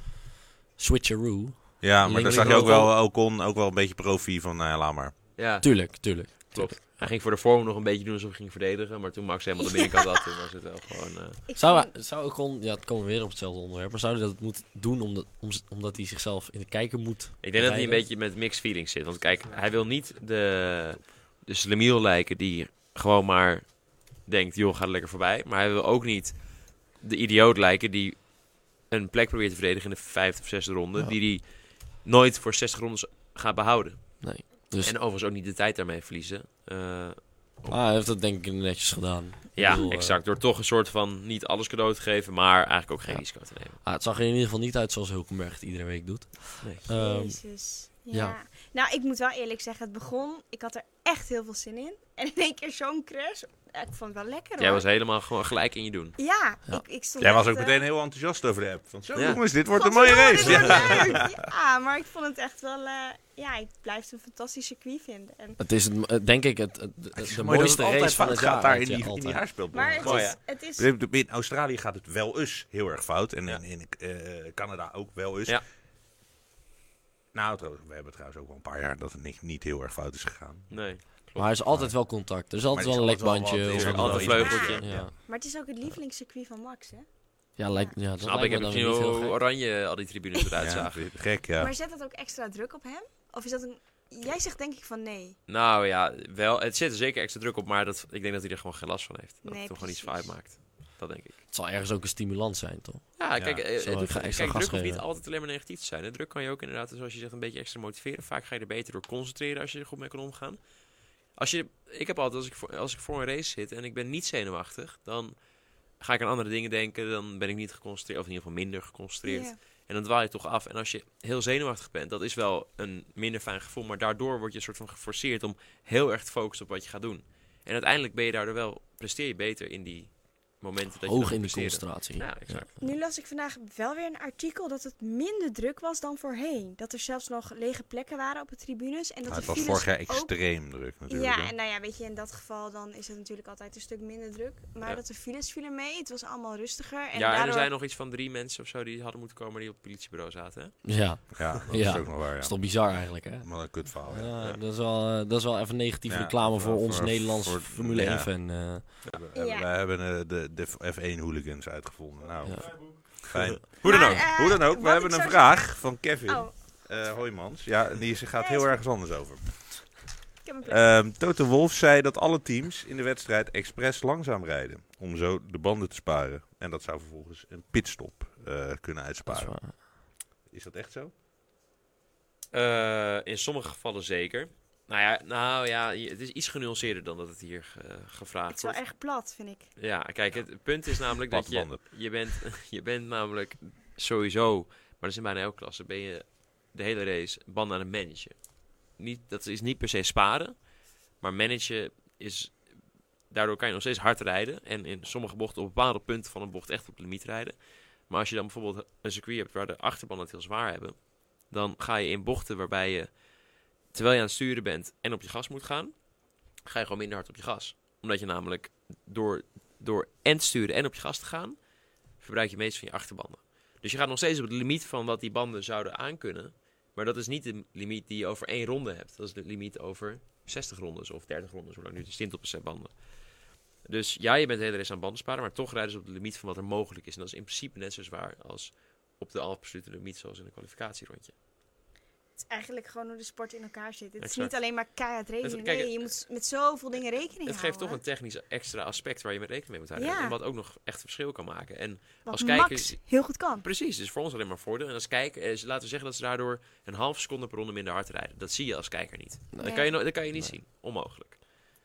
Speaker 2: switcheroo.
Speaker 4: Ja,
Speaker 2: Die
Speaker 4: maar daar
Speaker 2: link-
Speaker 4: zag je ook
Speaker 2: link-
Speaker 4: wel Ocon, ook wel een beetje profi van, nou ja, laat maar.
Speaker 1: Ja,
Speaker 2: Tuurlijk, tuurlijk.
Speaker 1: klopt. Hij ging voor de vorm nog een beetje doen alsof hij ging verdedigen. Maar toen Max helemaal de binnenkant had, toen was het wel gewoon... eh,
Speaker 3: Ik
Speaker 2: Zou,
Speaker 3: vind-
Speaker 2: zou Ocon, ja, het komen we weer op hetzelfde onderwerp, maar zou hij dat moeten doen omdat, om, omdat hij zichzelf in de kijker moet?
Speaker 1: Ik denk dat hij een
Speaker 2: Rijden.
Speaker 1: beetje met mixed feelings zit. Want kijk, hij wil niet de, de slemiel lijken die gewoon maar denkt, joh, gaat lekker voorbij. Maar hij wil ook niet de idioot lijken die een plek probeert te verdedigen in de vijfde of zesde ronde.
Speaker 2: Ja.
Speaker 1: Die hij nooit voor 60 rondes gaat behouden.
Speaker 2: Dus
Speaker 1: En overigens ook niet de tijd daarmee verliezen. Eh,
Speaker 2: ah, hij heeft dat denk ik netjes gedaan. Ik
Speaker 1: ja,
Speaker 2: bedoel, eh,
Speaker 1: exact. Door toch een soort van niet alles cadeau te geven, maar eigenlijk ook geen
Speaker 2: Ja.
Speaker 1: risico te nemen.
Speaker 2: ah, het zag er in ieder geval niet uit zoals Hulkenberg het iedere week doet.
Speaker 1: Nee.
Speaker 2: Ehm,
Speaker 3: Jezus. Ja.
Speaker 2: ja.
Speaker 3: Nou, ik moet wel eerlijk zeggen, het begon. Ik had er echt heel veel zin in. En in één keer zo'n crash. Ja, ik vond het wel lekker
Speaker 1: Jij
Speaker 3: hoor.
Speaker 1: was helemaal gewoon gelijk in je doen.
Speaker 3: Ja,
Speaker 2: Ja.
Speaker 3: Ik, ik stond
Speaker 4: Jij was
Speaker 3: echt,
Speaker 4: ook
Speaker 3: eh,
Speaker 4: meteen heel enthousiast over de app. Van, zo
Speaker 1: Ja.
Speaker 4: jongens, dit wordt een
Speaker 3: godverdomme,
Speaker 4: mooie race.
Speaker 3: dit
Speaker 4: Ja.
Speaker 3: wordt leuk. Ja, maar ik vond het echt wel... eh, ja, ik blijf het een fantastisch circuit vinden. En,
Speaker 2: Het is het- eh, denk ik het, het-
Speaker 4: Het is
Speaker 2: de
Speaker 4: mooi dat
Speaker 2: mooiste
Speaker 4: het altijd
Speaker 2: race van
Speaker 4: fout
Speaker 2: het
Speaker 4: gaat
Speaker 2: jaar.
Speaker 4: daar
Speaker 2: weet
Speaker 4: in
Speaker 2: je,
Speaker 4: die, in die
Speaker 2: altijd.
Speaker 4: haarspeelbocht.
Speaker 3: maar
Speaker 2: Oh,
Speaker 3: het
Speaker 4: Mooi,
Speaker 3: is...
Speaker 4: hè?
Speaker 3: Het is
Speaker 4: In Australië gaat het wel eens heel erg fout. En in, in eh, Canada ook wel eens.
Speaker 1: Ja.
Speaker 4: Nou, trouwens, we hebben trouwens ook al een paar jaar dat het niet, niet heel erg fout is gegaan.
Speaker 1: Nee.
Speaker 2: Maar er is altijd wel contact. Er is altijd
Speaker 4: Maar
Speaker 2: wel een
Speaker 4: er is altijd
Speaker 2: lekbandje.
Speaker 4: wel wat-
Speaker 2: of
Speaker 4: er is
Speaker 2: een-
Speaker 1: altijd een vleugeltje.
Speaker 2: Ja,
Speaker 3: maar het is ook het lievelingscircuit van Max, hè?
Speaker 2: ja, lijkt, ja dat
Speaker 1: Snap ik,
Speaker 2: lijkt
Speaker 1: ik heb
Speaker 2: me dan
Speaker 1: gezien
Speaker 2: weer niet heel
Speaker 1: hoe
Speaker 2: gek.
Speaker 1: oranje al die tribunes eruit
Speaker 4: Ja,
Speaker 1: zagen.
Speaker 4: gek, ja.
Speaker 3: Maar zet dat ook extra druk op hem? Of is dat een... Jij zegt denk ik van nee.
Speaker 1: Nou ja, wel, het zit er zeker extra druk op, maar dat, ik denk dat hij er gewoon geen last van heeft. Dat
Speaker 3: Nee,
Speaker 1: het toch gewoon iets
Speaker 3: precies.
Speaker 1: fout maakt. Dat denk ik.
Speaker 2: Het zal ergens ook een stimulans zijn, toch?
Speaker 1: Ja,
Speaker 4: Ja,
Speaker 1: kijk, eh,
Speaker 2: zo,
Speaker 1: het
Speaker 2: ik
Speaker 1: hoeft-
Speaker 2: ga
Speaker 1: kijk,
Speaker 2: extra gas
Speaker 1: druk hoeft niet
Speaker 2: geven.
Speaker 1: altijd alleen maar negatief te zijn. hè. Druk kan je ook inderdaad, zoals je zegt, een beetje extra motiveren. Vaak ga je er beter door concentreren als je er goed mee kan omgaan. Als je, ik heb altijd, als ik, voor, als ik voor een race zit en ik ben niet zenuwachtig, dan ga ik aan andere dingen denken. Dan ben ik niet geconcentreerd, of in ieder geval minder geconcentreerd.
Speaker 3: Ja.
Speaker 1: En dan dwaal je toch af. En als je heel zenuwachtig bent, dat is wel een minder fijn gevoel. Maar daardoor word je een soort van geforceerd om heel erg te focussen op wat je gaat doen. En uiteindelijk ben je daardoor wel, presteer je beter in die momenten dat je
Speaker 2: Hoog
Speaker 1: dat
Speaker 2: in de
Speaker 1: moet presteren.
Speaker 2: concentratie.
Speaker 1: Ja, exact.
Speaker 3: Nu las ik vandaag wel weer een artikel dat het minder druk was dan voorheen. Dat er zelfs nog lege plekken waren op de tribunes. En dat
Speaker 4: Nou,
Speaker 3: de
Speaker 4: het was
Speaker 3: files
Speaker 4: vorig jaar
Speaker 3: ook-
Speaker 4: extreem druk natuurlijk.
Speaker 3: Ja,
Speaker 4: hè.
Speaker 3: en nou ja, weet je, in dat geval dan is het natuurlijk altijd een stuk minder druk. Maar
Speaker 1: Ja.
Speaker 3: dat de files vielen mee, het was allemaal rustiger. En
Speaker 1: ja, en
Speaker 3: daardoor...
Speaker 1: er zijn nog iets van drie mensen of zo die hadden moeten komen die op het politiebureau zaten. hè?
Speaker 2: Ja,
Speaker 4: Ja, dat
Speaker 2: Ja.
Speaker 4: is ook nog waar,
Speaker 2: dat is
Speaker 4: ja.
Speaker 2: toch bizar eigenlijk, hè?
Speaker 4: Maar een kutverhaal, Oh, ja.
Speaker 2: Ja, dat, is wel, eh, dat is wel even negatieve
Speaker 4: Ja,
Speaker 2: reclame voor,
Speaker 4: voor-
Speaker 2: ons
Speaker 4: voor-
Speaker 2: Nederlands
Speaker 4: voor-
Speaker 2: Formule
Speaker 4: ja.
Speaker 2: 1-fan. eh.
Speaker 4: We, we-
Speaker 3: Ja.
Speaker 4: we hebben eh, de, de F1-hooligans uitgevonden. Nou,
Speaker 2: Ja.
Speaker 4: fijn.
Speaker 1: Hoe dan
Speaker 3: Maar,
Speaker 1: ook.
Speaker 3: eh,
Speaker 4: Hoe dan ook, we
Speaker 3: wat
Speaker 4: hebben
Speaker 3: ik
Speaker 4: een
Speaker 3: zou
Speaker 4: vraag van Kevin.
Speaker 3: zeggen- Oh,
Speaker 4: Eh Hoijmans. Ja, die ze gaat heel ergens anders over.
Speaker 3: Ik
Speaker 1: Eh,
Speaker 3: heb een plek.
Speaker 4: Ehm Toto Wolf zei dat alle teams in de wedstrijd expres langzaam rijden. Om zo de banden te sparen. En dat zou vervolgens een pitstop eh, kunnen
Speaker 2: Dat is
Speaker 4: uitsparen.
Speaker 2: waar.
Speaker 4: Is dat echt zo?
Speaker 1: Eh, in sommige gevallen zeker. Nou ja, nou ja, je- het is iets genuanceerder dan dat het hier eh,
Speaker 3: het
Speaker 1: gevraagd
Speaker 3: is wel
Speaker 1: wordt.
Speaker 3: erg plat, vind ik.
Speaker 1: Ja, kijk, het punt is namelijk dat je,
Speaker 4: Platbanden.
Speaker 1: je, bent, je bent namelijk sowieso, maar dat is in bijna elke klasse, ben je de hele race banden aan het managen. Niet, dat is niet per se sparen, maar managen is, daardoor kan je nog steeds hard rijden. En in sommige bochten, op bepaalde punten van een bocht, echt op de limiet rijden. Maar als je dan bijvoorbeeld een circuit hebt waar de achterban het heel zwaar hebben, dan ga je in bochten waarbij je, terwijl je aan het sturen bent en op je gas moet gaan, ga je gewoon minder hard op je gas. Omdat je namelijk door door en te sturen en op je gas te gaan, verbruik je meest van je achterbanden. Dus je gaat nog steeds op de limiet van wat die banden zouden aankunnen. Maar dat is niet de limiet die je over één ronde hebt. Dat is de limiet over 60 rondes of 30 rondes, hoe lang nu de stint op een set banden. Dus ja, je bent de hele race aan banden sparen, maar toch rijden ze op de limiet van wat er mogelijk is. En dat is in principe net zo zwaar als op de absolute limiet, zoals in een kwalificatierondje.
Speaker 3: Het is eigenlijk gewoon hoe de sport in elkaar zit. Het is
Speaker 1: Exact.
Speaker 3: niet alleen maar keihard rekenen.
Speaker 1: kijk,
Speaker 3: nee,
Speaker 1: het-
Speaker 3: je moet met zoveel dingen rekening
Speaker 1: Het
Speaker 3: houden.
Speaker 1: geeft toch een technisch extra aspect waar je mee rekening mee moet houden.
Speaker 3: Ja.
Speaker 1: En wat ook nog echt verschil kan maken. En
Speaker 3: Wat
Speaker 1: als kijker-
Speaker 3: Max heel goed kan.
Speaker 1: Precies, dus voor ons alleen maar voordeel. En als kijker, eh, laten we zeggen dat ze daardoor een half seconde per ronde minder hard rijden. Dat zie je als kijker niet. Dat, kan, je, no- dat kan je niet zien. Onmogelijk.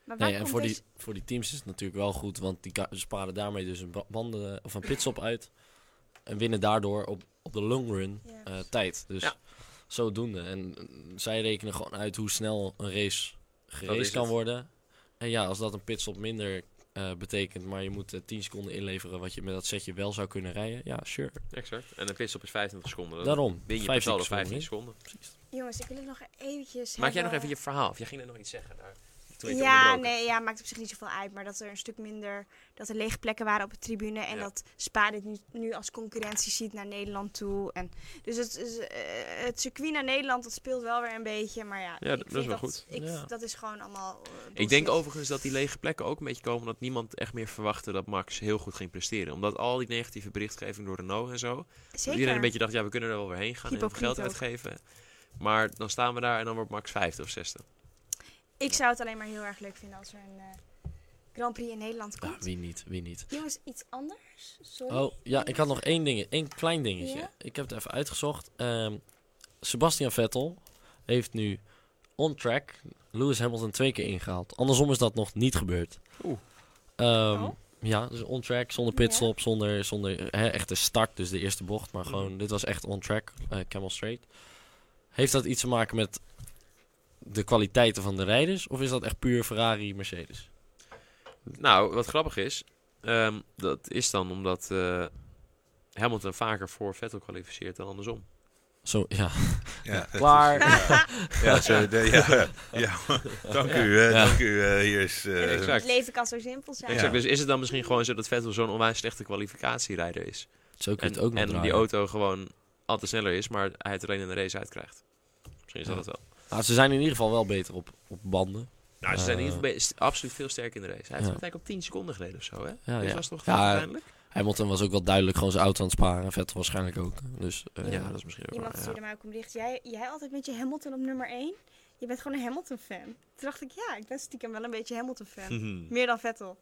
Speaker 3: Maar waar
Speaker 2: Nee, en
Speaker 3: komt
Speaker 2: voor die,
Speaker 3: deze-
Speaker 2: voor die teams is het natuurlijk wel goed, want die ka- sparen daarmee dus een ba- banden eh, of een pitstop uit. En winnen daardoor op, op de long run
Speaker 3: Ja.
Speaker 2: eh, tijd. Dus
Speaker 1: Ja.
Speaker 2: zodoende. En eh, zij rekenen gewoon uit hoe snel een race
Speaker 1: is
Speaker 2: geraced
Speaker 1: het.
Speaker 2: kan worden. En ja, als dat een pitstop minder eh, betekent, maar je moet eh, 10 seconden inleveren wat je met dat setje wel zou kunnen rijden. Ja, sure.
Speaker 1: Exact. En een pitstop is 25 seconden. Dan
Speaker 2: Daarom.
Speaker 1: win je
Speaker 2: 15
Speaker 1: totaal op
Speaker 2: seconden
Speaker 1: 15
Speaker 2: win.
Speaker 1: seconden.
Speaker 3: Jongens, ik wil het nog eventjes
Speaker 1: Maak jij nog
Speaker 3: hebben-
Speaker 1: even je verhaal? Of jij ging er nog iets zeggen? Daar. Toen ik je
Speaker 3: Ja,
Speaker 1: onderbroken.
Speaker 3: nee, ja, maakt op zich niet zoveel uit. Maar dat er een stuk minder, dat er lege plekken waren op de tribune. En
Speaker 1: Ja.
Speaker 3: dat Spa dit nu, nu als concurrentie ziet naar Nederland toe. En, dus het, is, eh, het circuit naar Nederland, dat speelt wel weer een beetje. Maar ja,
Speaker 1: dat
Speaker 3: ik
Speaker 1: is
Speaker 3: vind
Speaker 1: wel goed.
Speaker 3: Ik,
Speaker 2: Ja.
Speaker 3: Dat is gewoon allemaal eh,
Speaker 1: Ik
Speaker 3: bullshit.
Speaker 1: denk overigens dat die lege plekken ook een beetje komen omdat niemand echt meer verwachtte dat Max heel goed ging presteren. Omdat al die negatieve berichtgeving door Renault en zo. dat
Speaker 3: Zeker.
Speaker 1: Iedereen een beetje dacht, ja, we kunnen er wel weer heen gaan en heel veel
Speaker 3: Hypocriet
Speaker 1: geld
Speaker 3: ook.
Speaker 1: uitgeven. Maar dan staan we daar en dan wordt Max 50 of 60.
Speaker 3: Ik zou het alleen maar heel erg leuk vinden als er een eh, Grand Prix in Nederland
Speaker 2: Ja,
Speaker 3: komt.
Speaker 2: Ah, wie niet, wie niet.
Speaker 3: Jongens, iets anders? Sorry.
Speaker 2: Oh, ja, ik had nog één ding, één klein dingetje.
Speaker 3: Ja?
Speaker 2: Ik heb het even uitgezocht. Ehm, Sebastian Vettel heeft nu on track Lewis Hamilton twee keer ingehaald. Andersom is dat nog niet gebeurd.
Speaker 1: Oeh.
Speaker 2: Ehm,
Speaker 3: Oh.
Speaker 2: Ja, dus on track, zonder pitstop, zonder, zonder hè, echte start, dus de eerste bocht. Maar gewoon, dit was echt on track, eh, camel straight. Heeft dat iets te maken met de kwaliteiten van de rijders? Of is dat echt puur Ferrari, Mercedes?
Speaker 1: Nou, wat grappig is, ehm, dat is dan omdat eh, Hamilton vaker voor Vettel kwalificeert dan andersom.
Speaker 2: Zo, ja.
Speaker 4: Ja,
Speaker 2: Klaar.
Speaker 4: ja, zo, de- ja, ja. dank u. eh,
Speaker 2: Ja.
Speaker 4: Dank u. eh, hier is... eh,
Speaker 1: Exact.
Speaker 3: Het leven kan zo simpel zijn.
Speaker 1: Exact,
Speaker 4: Ja.
Speaker 1: dus is het dan misschien gewoon zo dat Vettel zo'n onwijs slechte kwalificatierijder is?
Speaker 2: Zo kun je
Speaker 1: En,
Speaker 2: het ook nog
Speaker 1: en die
Speaker 2: draaien.
Speaker 1: auto gewoon altijd sneller is, maar hij het alleen in de race uitkrijgt. Misschien is dat
Speaker 2: Ja.
Speaker 1: het wel.
Speaker 2: Nou, ze zijn in ieder geval wel beter op, op banden.
Speaker 1: Nou, ze zijn in
Speaker 2: Eh.
Speaker 1: ieder geval be- st- absoluut veel sterker in de race. Hij heeft
Speaker 2: Ja.
Speaker 1: uiteindelijk op 10 seconden gereden of zo, hè?
Speaker 2: Ja,
Speaker 1: dus
Speaker 2: ja.
Speaker 1: was toch
Speaker 2: Ja,
Speaker 1: uiteindelijk?
Speaker 2: Hamilton was ook wel duidelijk gewoon zijn auto aan het sparen. En Vettel waarschijnlijk ook. Dus eh,
Speaker 1: ja, dat is misschien ook
Speaker 3: Iemand
Speaker 1: wel, ja.
Speaker 3: stuurde mij ook een bericht. Jij, jij altijd met je Hamilton op nummer 1? Je bent gewoon een Hamilton-fan. Toen dacht ik, ja, ik ben stiekem wel een beetje Hamilton-fan.
Speaker 1: Mhm.
Speaker 3: Meer dan Vettel.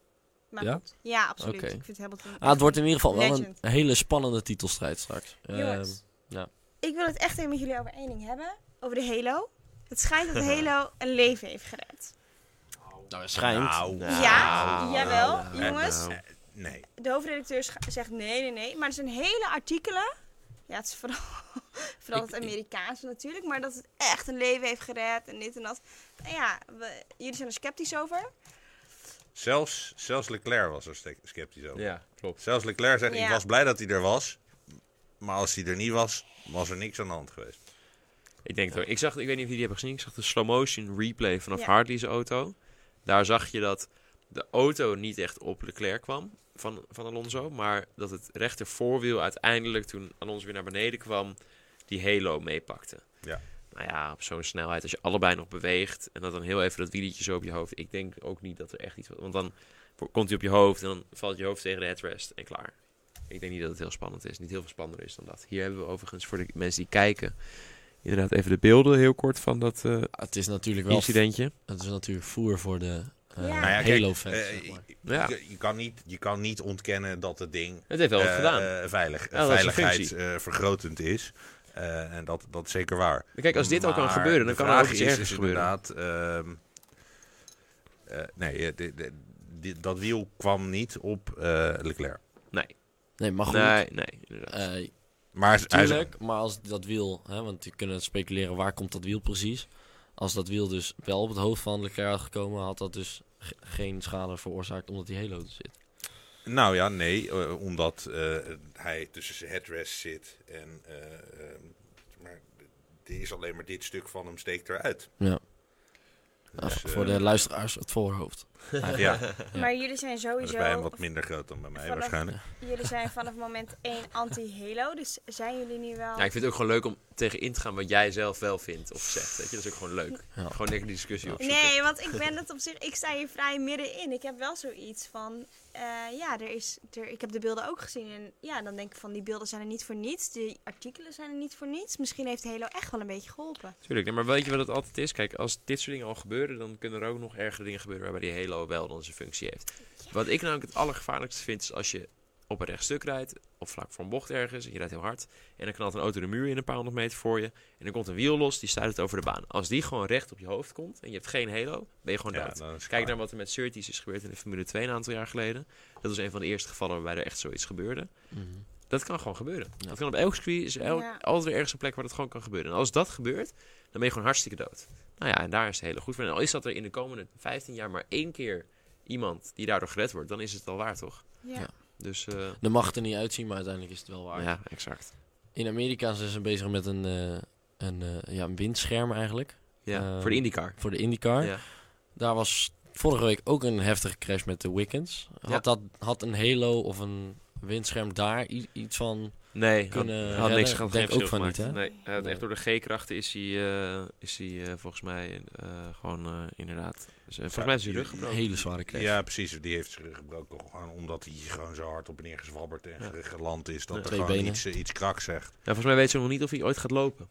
Speaker 3: Maar
Speaker 2: Ja?
Speaker 3: goed. Ja, absoluut.
Speaker 2: Oké.
Speaker 3: Ik vind Hamilton...
Speaker 2: ah, het wordt in ieder geval wel een
Speaker 3: Legend.
Speaker 2: hele spannende titelstrijd straks.
Speaker 3: Jongens,
Speaker 2: Ehm, ja.
Speaker 3: ik wil het echt even met jullie over één ding hebben. Over de Halo. Het schijnt dat de Halo een leven heeft gered.
Speaker 2: nou, het schijnt.
Speaker 4: Nou.
Speaker 3: ja, jawel.
Speaker 4: nou.
Speaker 3: Jongens,
Speaker 1: Nou,
Speaker 4: Nee.
Speaker 3: de hoofdredacteur scha- zegt nee, nee, nee. Maar er zijn hele artikelen. Ja, het is vooral, vooral
Speaker 2: Ik-
Speaker 3: het Amerikaanse natuurlijk. Maar dat het echt een leven heeft gered en dit en dat. Nou ja, we- jullie zijn er sceptisch over.
Speaker 4: Zelfs, zelfs Leclerc was er ste- sceptisch over.
Speaker 1: ja, klopt.
Speaker 4: Zelfs Leclerc zegt,
Speaker 3: Ja.
Speaker 4: ik was blij dat hij er was. Maar als hij er niet was, was er niks aan de hand geweest.
Speaker 1: Ik denk het ook. Ik, zag, ik weet niet of jullie die hebben gezien. Ik zag de slow motion replay vanaf
Speaker 3: Ja.
Speaker 1: Hartley's auto. Daar zag je dat de auto niet echt op Leclerc kwam van, van Alonso. Maar dat het rechter voorwiel uiteindelijk toen Alonso weer naar beneden kwam, die halo meepakte.
Speaker 4: Ja.
Speaker 1: Nou ja, op zo'n snelheid, als je allebei nog beweegt en dat dan heel even dat wieltje zo op je hoofd. Ik denk ook niet dat er echt iets... Want dan komt hij op je hoofd en dan valt je hoofd tegen de headrest en klaar. Ik denk niet dat het heel spannend is. Niet heel veel spannender is dan dat. Hier hebben we overigens voor de mensen die kijken inderdaad even de beelden heel kort van dat eh,
Speaker 2: Het is natuurlijk wel
Speaker 1: incidentje.
Speaker 2: het is natuurlijk voer voor de eh,
Speaker 3: Ja. Nou
Speaker 4: ja, kijk,
Speaker 2: Halo-fans.
Speaker 4: eh,
Speaker 2: zeg maar.
Speaker 1: Ja,
Speaker 4: Je, je kan niet, je kan niet ontkennen dat het ding
Speaker 1: het heeft wel wat
Speaker 4: eh,
Speaker 1: gedaan.
Speaker 4: eh, veilig,
Speaker 1: Ja, dat is een
Speaker 4: veiligheid
Speaker 1: functie.
Speaker 4: eh, vergrotend is. Eh, en dat, dat is zeker waar.
Speaker 1: Maar Kijk, als dit al kan
Speaker 4: Maar
Speaker 1: gebeuren, dan
Speaker 4: de
Speaker 1: kan er
Speaker 4: vraag
Speaker 1: ook iets
Speaker 4: is
Speaker 1: ergers
Speaker 4: dus
Speaker 1: gebeuren.
Speaker 4: Inderdaad, ehm, eh, nee, eh, de- de- die- dat wiel kwam niet op eh, Leclerc.
Speaker 2: Nee,
Speaker 4: Oh,
Speaker 2: maar goed.
Speaker 1: Nee, nee. inderdaad.
Speaker 2: eh,
Speaker 4: Maar hij is-
Speaker 2: Tuurlijk, maar als dat wiel, hè, want je kunnen speculeren waar komt dat wiel precies. Als dat wiel dus wel op het hoofd van Leclerc had gekomen, had dat dus ge- geen schade veroorzaakt omdat die halo er zit.
Speaker 4: Nou ja, nee, eh, omdat eh, hij tussen zijn headrest zit en eh, ehm, maar er is alleen maar dit stuk van hem steekt eruit.
Speaker 2: Ja. Nou,
Speaker 4: Dus, eh,
Speaker 2: voor de luisteraars het voorhoofd.
Speaker 4: ja, maar
Speaker 2: Ja.
Speaker 3: Maar jullie zijn
Speaker 4: dat is bij hem
Speaker 3: sowieso...
Speaker 4: wat minder groot dan bij mij
Speaker 3: Vanaf-
Speaker 4: waarschijnlijk.
Speaker 3: Jullie zijn vanaf moment 1 anti-Halo. Dus zijn jullie nu wel...
Speaker 1: Ja, ik vind het ook gewoon leuk om tegen in te gaan wat jij zelf wel vindt of zegt. Weet je? Dat is ook gewoon leuk.
Speaker 2: Ja.
Speaker 1: Gewoon lekker die discussie opzoeken.
Speaker 3: Nee, want ik ben het op zich. Ik sta hier vrij middenin. Ik heb wel zoiets van. eh, ja, er is, er, ik heb de beelden ook gezien. En ja, dan denk ik van die beelden zijn er niet voor niets. Die artikelen zijn er niet voor niets. Misschien heeft Halo echt wel een beetje geholpen.
Speaker 1: Tuurlijk, nee, maar weet je wat het altijd is? Kijk, als dit soort dingen al gebeuren, dan kunnen er ook nog ergere dingen gebeuren waarbij die Halo wel dan zijn functie heeft. Wat ik namelijk het allergevaarlijkste vind, is als je op een rechtstuk rijdt, of vlak voor een bocht ergens, en je rijdt heel hard, en dan knalt een auto de muur in een paar honderd meter voor je, en dan komt een wiel los, die stuit het over de baan. Als die gewoon recht op je hoofd komt, en je hebt geen Halo, ben je gewoon
Speaker 4: Ja,
Speaker 1: dood.
Speaker 4: dan is het
Speaker 1: Kijk
Speaker 4: klaar.
Speaker 1: naar wat er met Surtees is gebeurd in de Formule 2 een aantal jaar geleden. Dat was een van de eerste gevallen waarbij er echt zoiets gebeurde.
Speaker 2: Mhm.
Speaker 1: Dat kan gewoon gebeuren.
Speaker 2: Ja.
Speaker 1: Dat kan op elk circuit. Is el-
Speaker 3: Ja.
Speaker 1: altijd weer ergens een plek waar dat gewoon kan gebeuren. En als dat gebeurt, dan ben je gewoon hartstikke dood. Nou ja, en daar is het hele goed voor. En al is dat er in de komende 15 jaar maar één keer iemand die daardoor gered wordt, dan is het al waar, toch?
Speaker 3: Ja.
Speaker 2: Ja.
Speaker 1: Dus eh,
Speaker 2: Dat mag het er niet uitzien, maar uiteindelijk is het wel waar.
Speaker 1: ja, exact.
Speaker 2: In Amerika zijn ze bezig met een, eh, een, eh, ja, een windscherm eigenlijk,
Speaker 1: Ja,
Speaker 2: Ehm,
Speaker 1: voor de IndyCar.
Speaker 2: voor de IndyCar.
Speaker 1: Ja.
Speaker 2: Daar was vorige week ook een heftige crash met de Wiccans. Had,
Speaker 1: Ja.
Speaker 2: dat, had een halo of een windscherm daar i- iets van...
Speaker 1: Nee, had,
Speaker 2: kunnen
Speaker 1: had niks
Speaker 2: redden.
Speaker 1: gehad.
Speaker 2: Denk
Speaker 1: geen
Speaker 2: ook van
Speaker 1: verschil
Speaker 2: niet,
Speaker 1: gemaakt.
Speaker 2: hè?
Speaker 1: Nee, hij had echt door de G-krachten is hij, eh, is hij eh, volgens mij eh, gewoon eh, inderdaad. Dus, eh, volgens
Speaker 4: Ja,
Speaker 1: mij is hij
Speaker 4: die-
Speaker 1: rug
Speaker 2: Een
Speaker 1: gebroken.
Speaker 2: hele zware crash.
Speaker 4: Ja, precies. Die heeft zijn rug gebroken gewoon omdat hij gewoon zo hard op en neer gezwabberd en
Speaker 1: Ja.
Speaker 4: geland is. Dat
Speaker 1: Ja.
Speaker 4: er
Speaker 2: Twee
Speaker 4: gewoon
Speaker 2: benen.
Speaker 4: iets, eh, iets krak zegt.
Speaker 1: Nou, volgens mij weet ze nog niet of hij ooit gaat lopen.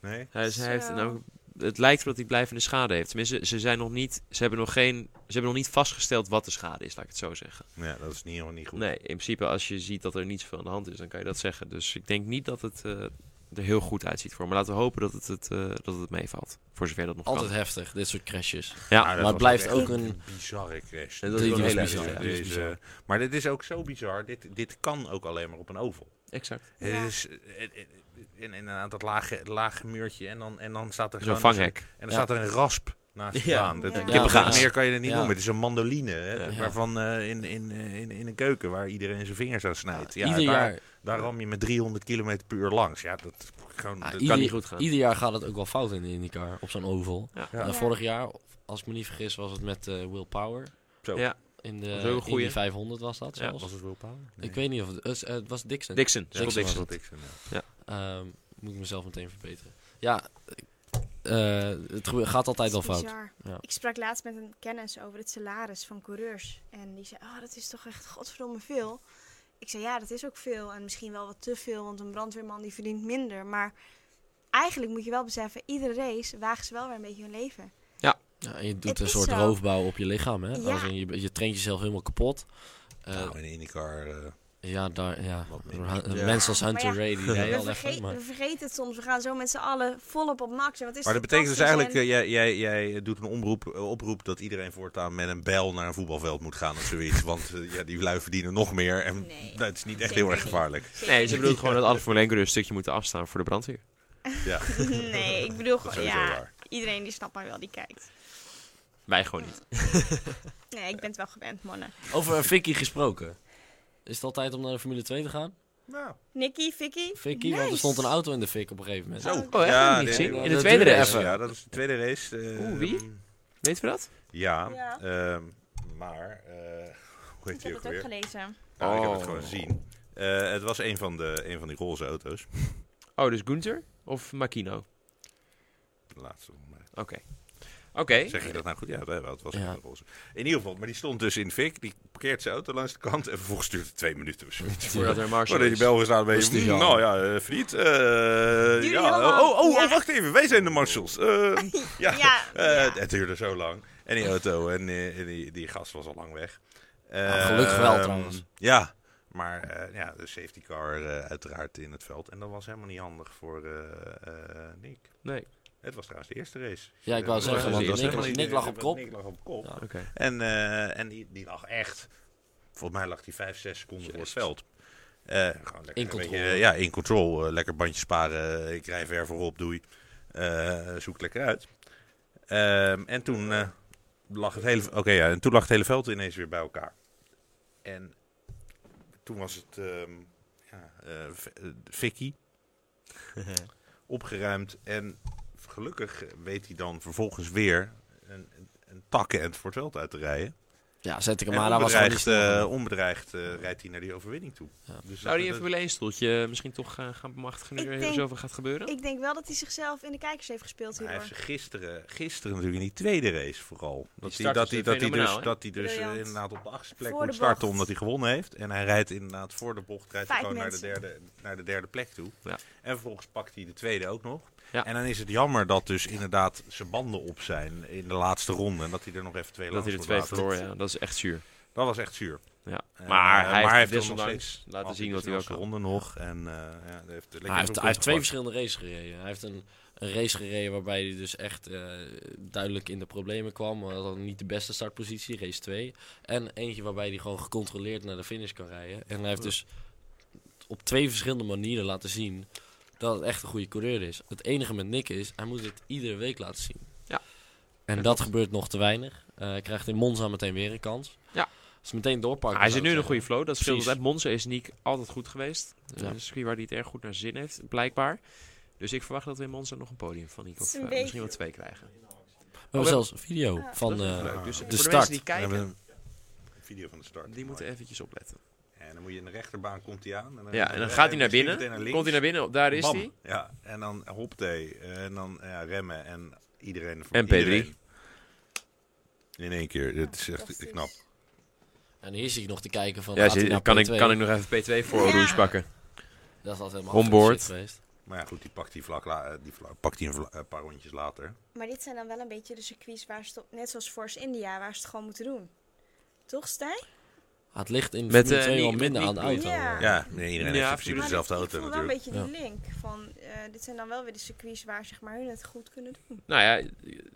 Speaker 4: Nee?
Speaker 1: Hij, is- hij heeft,
Speaker 3: Zo.
Speaker 1: nou, het lijkt erop dat hij blijvende schade heeft. Tenminste, ze zijn nog niet, ze hebben nog geen, ze hebben nog niet vastgesteld wat de schade is, laat ik het zo zeggen.
Speaker 4: Ja, dat is niet, helemaal niet goed.
Speaker 1: Nee, in principe als je ziet dat er niets van aan de hand is, dan kan je dat zeggen. Dus ik denk niet dat het eh, er heel goed uitziet voor. hem. Maar laten we hopen dat het, het, eh, dat het meevalt. Voor zover dat nog
Speaker 2: Altijd
Speaker 1: kan.
Speaker 2: heftig, dit soort crashes.
Speaker 1: Ja,
Speaker 4: Nou, dat
Speaker 2: maar
Speaker 4: was
Speaker 2: het blijft
Speaker 4: echt
Speaker 2: ook een-
Speaker 4: bizarre crash.
Speaker 1: En dat is Die- wel die
Speaker 4: heel
Speaker 1: was bizar,
Speaker 4: erg bizar.
Speaker 1: ja.
Speaker 2: Die was
Speaker 4: Deze-
Speaker 2: bizar.
Speaker 4: Maar dit is ook zo bizar. Dit, dit kan ook alleen maar op een oval.
Speaker 1: exact.
Speaker 4: Het
Speaker 3: Ja.
Speaker 4: is eh, eh, in, inderdaad dat lage, lage muurtje en dan, en dan staat er
Speaker 1: Zo'n
Speaker 4: gewoon-
Speaker 1: vanghek.
Speaker 4: En dan
Speaker 2: Ja.
Speaker 4: staat er een rasp naast de
Speaker 1: Ja.
Speaker 4: baan. Dat,
Speaker 3: Ja.
Speaker 2: Kippengaas.
Speaker 4: Meer kan je er niet
Speaker 2: Ja.
Speaker 4: noemen. Het is een mandoline hè,
Speaker 1: Ja.
Speaker 4: waarvan eh, in, in, eh, in, in een keuken waar iedereen zijn vingers aan snijdt. Ja,
Speaker 2: ieder,
Speaker 4: daar,
Speaker 2: jaar,
Speaker 4: daar ram je met 300 km per uur langs. Ja, dat, gewoon,
Speaker 2: ah,
Speaker 4: dat
Speaker 2: ieder,
Speaker 4: kan
Speaker 1: niet goed gaan.
Speaker 2: ieder jaar gaat het ook wel fout in de IndyCar, op zo'n oval.
Speaker 1: Ja.
Speaker 4: Ja.
Speaker 2: En
Speaker 3: Ja.
Speaker 2: vorig jaar, als ik me niet vergis, was het met eh, Will Power.
Speaker 4: Zo.
Speaker 1: Ja.
Speaker 2: In
Speaker 1: Dat is ook
Speaker 2: de
Speaker 1: een goeie.
Speaker 2: Indy 500 was dat
Speaker 1: Ja,
Speaker 2: zelfs.
Speaker 4: het Will Power?
Speaker 2: Ik weet niet of het... eh, het was Dixon.
Speaker 1: Dixon,
Speaker 2: Ja,
Speaker 1: Scott
Speaker 2: Dixon
Speaker 1: Dixon.
Speaker 2: was Ehm, moet ik mezelf meteen verbeteren. Ja, eh, het gebe- gaat altijd al
Speaker 3: Dat is
Speaker 2: fout.
Speaker 3: bizar.
Speaker 2: Ja.
Speaker 3: Ik sprak laatst met een kennis over het salaris van coureurs. En die zei, oh, dat is toch echt godverdomme veel. Ik zei, ja, dat is ook veel. En misschien wel wat te veel, want een brandweerman die verdient minder. Maar eigenlijk moet je wel beseffen, iedere race wagen ze wel weer een beetje hun leven.
Speaker 2: Ja, en je doet
Speaker 3: Het
Speaker 2: een
Speaker 3: is
Speaker 2: soort
Speaker 3: zo.
Speaker 2: roofbouw op je lichaam, hè?
Speaker 3: Ja.
Speaker 2: Als in je, je traint jezelf helemaal kapot. Eh,
Speaker 4: Nou, in de IndyCar... eh,
Speaker 2: ja, daar, ja.
Speaker 4: Wat
Speaker 2: Ru-
Speaker 4: minder.
Speaker 2: eh,
Speaker 1: Ja.
Speaker 2: Mensen als
Speaker 3: Maar
Speaker 2: Hunter
Speaker 3: ja,
Speaker 2: Ray, die rijden
Speaker 3: We,
Speaker 2: al echt
Speaker 3: verge-
Speaker 2: goed, maar...
Speaker 3: we vergeten het soms. We gaan zo met z'n allen volop op max. En wat is
Speaker 4: Maar dat
Speaker 3: het
Speaker 4: betekent dus
Speaker 3: fantastisch
Speaker 4: eigenlijk,
Speaker 3: en-
Speaker 4: eh, jij, jij, jij doet een omroep, eh, oproep dat iedereen voortaan met een bijl naar een voetbalveld moet gaan of zoiets. Want eh, ja, die lui verdienen nog meer en
Speaker 3: Nee,
Speaker 4: nou, het is niet echt
Speaker 3: zeker
Speaker 4: heel erg
Speaker 3: niet.
Speaker 4: gevaarlijk.
Speaker 3: Zeker
Speaker 1: Nee, ze bedoelt gewoon dat alle Formule 1 coureurs een stukje moeten afstaan voor de brandweer.
Speaker 4: Ja,
Speaker 3: nee, ik bedoel
Speaker 4: dat is
Speaker 3: gewoon,
Speaker 4: sowieso
Speaker 3: ja,
Speaker 4: waar.
Speaker 3: iedereen die snapt mij wel, die kijkt.
Speaker 1: Wij gewoon niet.
Speaker 3: Nee, ik ben het wel gewend, mannen.
Speaker 2: Over eh, Vicky gesproken. Is het al tijd om naar de Formule 2 te gaan?
Speaker 4: Nou,
Speaker 3: Nicky, Vicky.
Speaker 2: Vicky,
Speaker 3: nice.
Speaker 2: want er stond een auto in de fik op een gegeven moment.
Speaker 4: zo.
Speaker 1: Oh, echt?
Speaker 4: Ja,
Speaker 1: Niet
Speaker 4: nee,
Speaker 1: gezien?
Speaker 4: nee,
Speaker 1: In de
Speaker 2: dat
Speaker 1: tweede
Speaker 2: duurde
Speaker 1: race.
Speaker 2: even.
Speaker 4: Ja, dat is de tweede race. eh,
Speaker 1: Oeh, wie?
Speaker 4: ehm,
Speaker 1: Weet je dat?
Speaker 4: Ja,
Speaker 3: Ja.
Speaker 4: ehm, maar, eh hoe
Speaker 3: Ik
Speaker 4: heet
Speaker 3: heb
Speaker 4: die ook
Speaker 3: het ook
Speaker 4: weer?
Speaker 3: gelezen.
Speaker 4: Nou, Ik heb het
Speaker 1: Oh.
Speaker 4: gewoon gezien. Eh, het was een van, de, een van die roze auto's.
Speaker 1: Oh, dus Gunther of Makino?
Speaker 4: De laatste. volgens mij.
Speaker 1: Oké. Oké,
Speaker 4: Zeg je dat nou goed? Ja, dat het was
Speaker 2: Ja.
Speaker 4: een roze. In ieder geval, maar die stond dus in de fik. Die parkeert zijn auto langs de kant. En vervolgens duurt het twee minuten of zoiets.
Speaker 1: Voordat er een marshal
Speaker 4: Voordat je
Speaker 1: is.
Speaker 4: Belgen staat, ben je...
Speaker 2: Dat is
Speaker 4: "Mm,
Speaker 2: niet
Speaker 4: Nou ja, eh, vriend. eh, ja,
Speaker 3: helemaal-
Speaker 4: oh, oh, oh,
Speaker 3: ja.
Speaker 4: wacht even. Wij zijn de marshals. Eh, ja,
Speaker 3: Ja,
Speaker 4: eh,
Speaker 3: ja.
Speaker 4: Het duurde zo lang. En die auto en eh, die, die gast was al lang weg.
Speaker 2: Ah, gelukkig wel,
Speaker 4: Ehm,
Speaker 2: trouwens.
Speaker 4: Ja, maar eh, ja, de safety car eh, uiteraard in het veld. En dat was helemaal niet handig voor eh, eh, Nick.
Speaker 1: Nee.
Speaker 4: Het was trouwens de eerste race.
Speaker 2: Ja, ik wou
Speaker 4: Eh,
Speaker 1: zeggen,
Speaker 4: dat
Speaker 1: want
Speaker 4: was
Speaker 1: Nick-
Speaker 4: helemaal niet-
Speaker 2: Nick lag op kop.
Speaker 4: Nick lag op kop.
Speaker 2: Ja.
Speaker 1: Oké.
Speaker 4: En, eh, en die, die lag echt. Volgens mij lag die 5, 6 seconden voor het
Speaker 1: Jezus.
Speaker 4: veld. Eh, gewoon lekker
Speaker 2: In
Speaker 4: een beetje,
Speaker 2: controle.
Speaker 4: eh, ja, in control. Eh, lekker bandje sparen. Eh, Ik rij ver voorop, doei. Eh, zoek lekker uit. Ehm, en toen eh, lag het hele. Oké, ja, en toen lag het hele veld ineens weer bij elkaar. En toen was het ehm ja, eh, v- eh, Vicky opgeruimd. En gelukkig weet hij dan vervolgens weer een, een, een takkenend voor het veld uit te rijden.
Speaker 2: Ja, zet ik hem
Speaker 4: En
Speaker 2: aan. Hij was gewoon niet
Speaker 4: onbedreigd,
Speaker 2: snel
Speaker 4: eh,
Speaker 2: genoeg.
Speaker 4: onbedreigd eh, rijdt hij naar die overwinning toe.
Speaker 2: Ja.
Speaker 1: Zou
Speaker 4: Dus dat-
Speaker 1: die
Speaker 4: dat-
Speaker 1: even willen een stoeltje eh, misschien toch gaan, gaan bemachtigen nu
Speaker 3: Ik
Speaker 1: er
Speaker 3: denk-
Speaker 1: zoveel gaat gebeuren?
Speaker 3: Ik denk wel dat hij zichzelf in de kijkers heeft gespeeld
Speaker 4: Hij heeft
Speaker 3: hierdoor.
Speaker 4: zich gisteren, gisteren natuurlijk in die tweede race vooral. Dat hij,
Speaker 1: start
Speaker 4: dat
Speaker 1: is
Speaker 4: hij,
Speaker 1: dus
Speaker 4: dat hij dus,
Speaker 1: fenomenaal, hè?
Speaker 4: dat hij dus eh,
Speaker 3: Briljant.
Speaker 4: inderdaad op de achtste plek
Speaker 3: Voor de
Speaker 4: moet starten
Speaker 3: bocht.
Speaker 4: omdat hij gewonnen heeft. En hij rijdt inderdaad voor de bocht rijdt hij
Speaker 3: Vijf
Speaker 4: gewoon naar de,
Speaker 3: mensen.
Speaker 4: derde, naar de derde plek toe.
Speaker 1: Ja.
Speaker 4: En vervolgens pakt hij de tweede ook nog.
Speaker 1: Ja.
Speaker 4: En dan is het jammer dat dus inderdaad zijn banden op zijn in de laatste ronde. En dat hij er nog even twee
Speaker 1: Dat hij
Speaker 4: langs
Speaker 1: er
Speaker 4: moet
Speaker 1: twee
Speaker 4: laten.
Speaker 1: verloor, ja. Dat is echt zuur.
Speaker 4: Dat was echt zuur.
Speaker 1: Ja.
Speaker 4: Eh,
Speaker 1: maar hij heeft, dus
Speaker 4: er nog
Speaker 1: desondanks
Speaker 4: steeds-
Speaker 1: laten
Speaker 4: had
Speaker 1: zien
Speaker 4: de
Speaker 1: wat hij wel
Speaker 4: snelste
Speaker 1: kan.
Speaker 4: ronde nog. En, eh, ja, hij heeft,
Speaker 2: Hij heeft, hij heeft twee verschillende races gereden. Hij heeft een, een race gereden waarbij hij dus echt eh, duidelijk in de problemen kwam. Hij had dan niet de beste startpositie, race 2. En eentje waarbij hij gewoon gecontroleerd naar de finish kan rijden. En hij heeft dus op twee verschillende manieren laten zien dat het echt een goede coureur is. Het enige met Nick is, hij moet het iedere week laten zien.
Speaker 1: Ja.
Speaker 2: En dat gebeurt nog te weinig. Eh, hij krijgt in Monza meteen weer een kans.
Speaker 1: Ja.
Speaker 2: Dus meteen doorpakken.
Speaker 1: hij
Speaker 2: zou
Speaker 1: zit
Speaker 2: ik
Speaker 1: nu in een
Speaker 2: zeggen.
Speaker 1: goede flow. Dat scheelt
Speaker 2: Precies.
Speaker 1: altijd. Monza is Niek altijd goed geweest.
Speaker 2: Ja.
Speaker 1: Een circuit waar hij het erg goed naar zin heeft, blijkbaar. Dus ik verwacht dat we in Monza nog een podium van Niek
Speaker 3: Het
Speaker 1: of
Speaker 3: is een
Speaker 1: eh,
Speaker 3: beetje-
Speaker 1: misschien wel twee krijgen.
Speaker 2: We hebben Oh, zelfs een video
Speaker 3: Ah.
Speaker 2: van...
Speaker 1: Oh, Dat is
Speaker 2: eh,
Speaker 1: leuk. Dus voor de
Speaker 2: start.
Speaker 1: mensen die
Speaker 4: We hebben
Speaker 1: kijken,
Speaker 4: een video van de start.
Speaker 1: die moeten
Speaker 4: Mooi.
Speaker 1: eventjes opletten.
Speaker 4: En dan moet je in de rechterbaan, komt hij aan. dan,
Speaker 1: Ja, en dan gaat hij naar
Speaker 4: misschien
Speaker 1: binnen.
Speaker 4: meteen links.
Speaker 1: Komt hij naar binnen, daar is
Speaker 4: Bam.
Speaker 1: hij.
Speaker 4: Ja, en dan hopte en dan ja, remmen en iedereen.
Speaker 1: En P3.
Speaker 4: iedereen. In één keer, dit is echt
Speaker 3: Fantastisch.
Speaker 4: knap.
Speaker 2: En hier zie ik nog te kijken van.
Speaker 1: Ja,
Speaker 2: gaat hij
Speaker 1: zit-
Speaker 2: naar
Speaker 1: kan, ik,
Speaker 2: P2?
Speaker 1: kan ik nog even P2 voor
Speaker 3: Ja.
Speaker 1: Rouge pakken?
Speaker 2: Dat is altijd helemaal
Speaker 1: Onboard.
Speaker 2: afgelopen geweest.
Speaker 4: Maar ja, goed, die pakt die vlak, la- eh, die vlak- pakt die een, vla- een paar rondjes later.
Speaker 3: Maar dit zijn dan wel een beetje de circuits waar ze het op, net zoals Force India, waar ze het gewoon moeten doen. Toch, Stijn?
Speaker 2: Ah, het ligt in
Speaker 1: Met,
Speaker 2: met, Formule
Speaker 1: eh,
Speaker 2: 2 wel
Speaker 1: niet-
Speaker 2: minder
Speaker 1: niet-
Speaker 2: aan de auto.
Speaker 3: Ja.
Speaker 2: eh.
Speaker 4: Ja, nee, iedereen
Speaker 1: Ja,
Speaker 4: heeft
Speaker 1: precies.
Speaker 4: natuurlijk dezelfde
Speaker 3: ik, ik
Speaker 4: auto
Speaker 3: voel wel een
Speaker 4: natuurlijk.
Speaker 3: beetje die link van, eh, dit zijn dan wel weer de circuits waar zeg maar, hun het goed kunnen doen.
Speaker 1: Nou ja,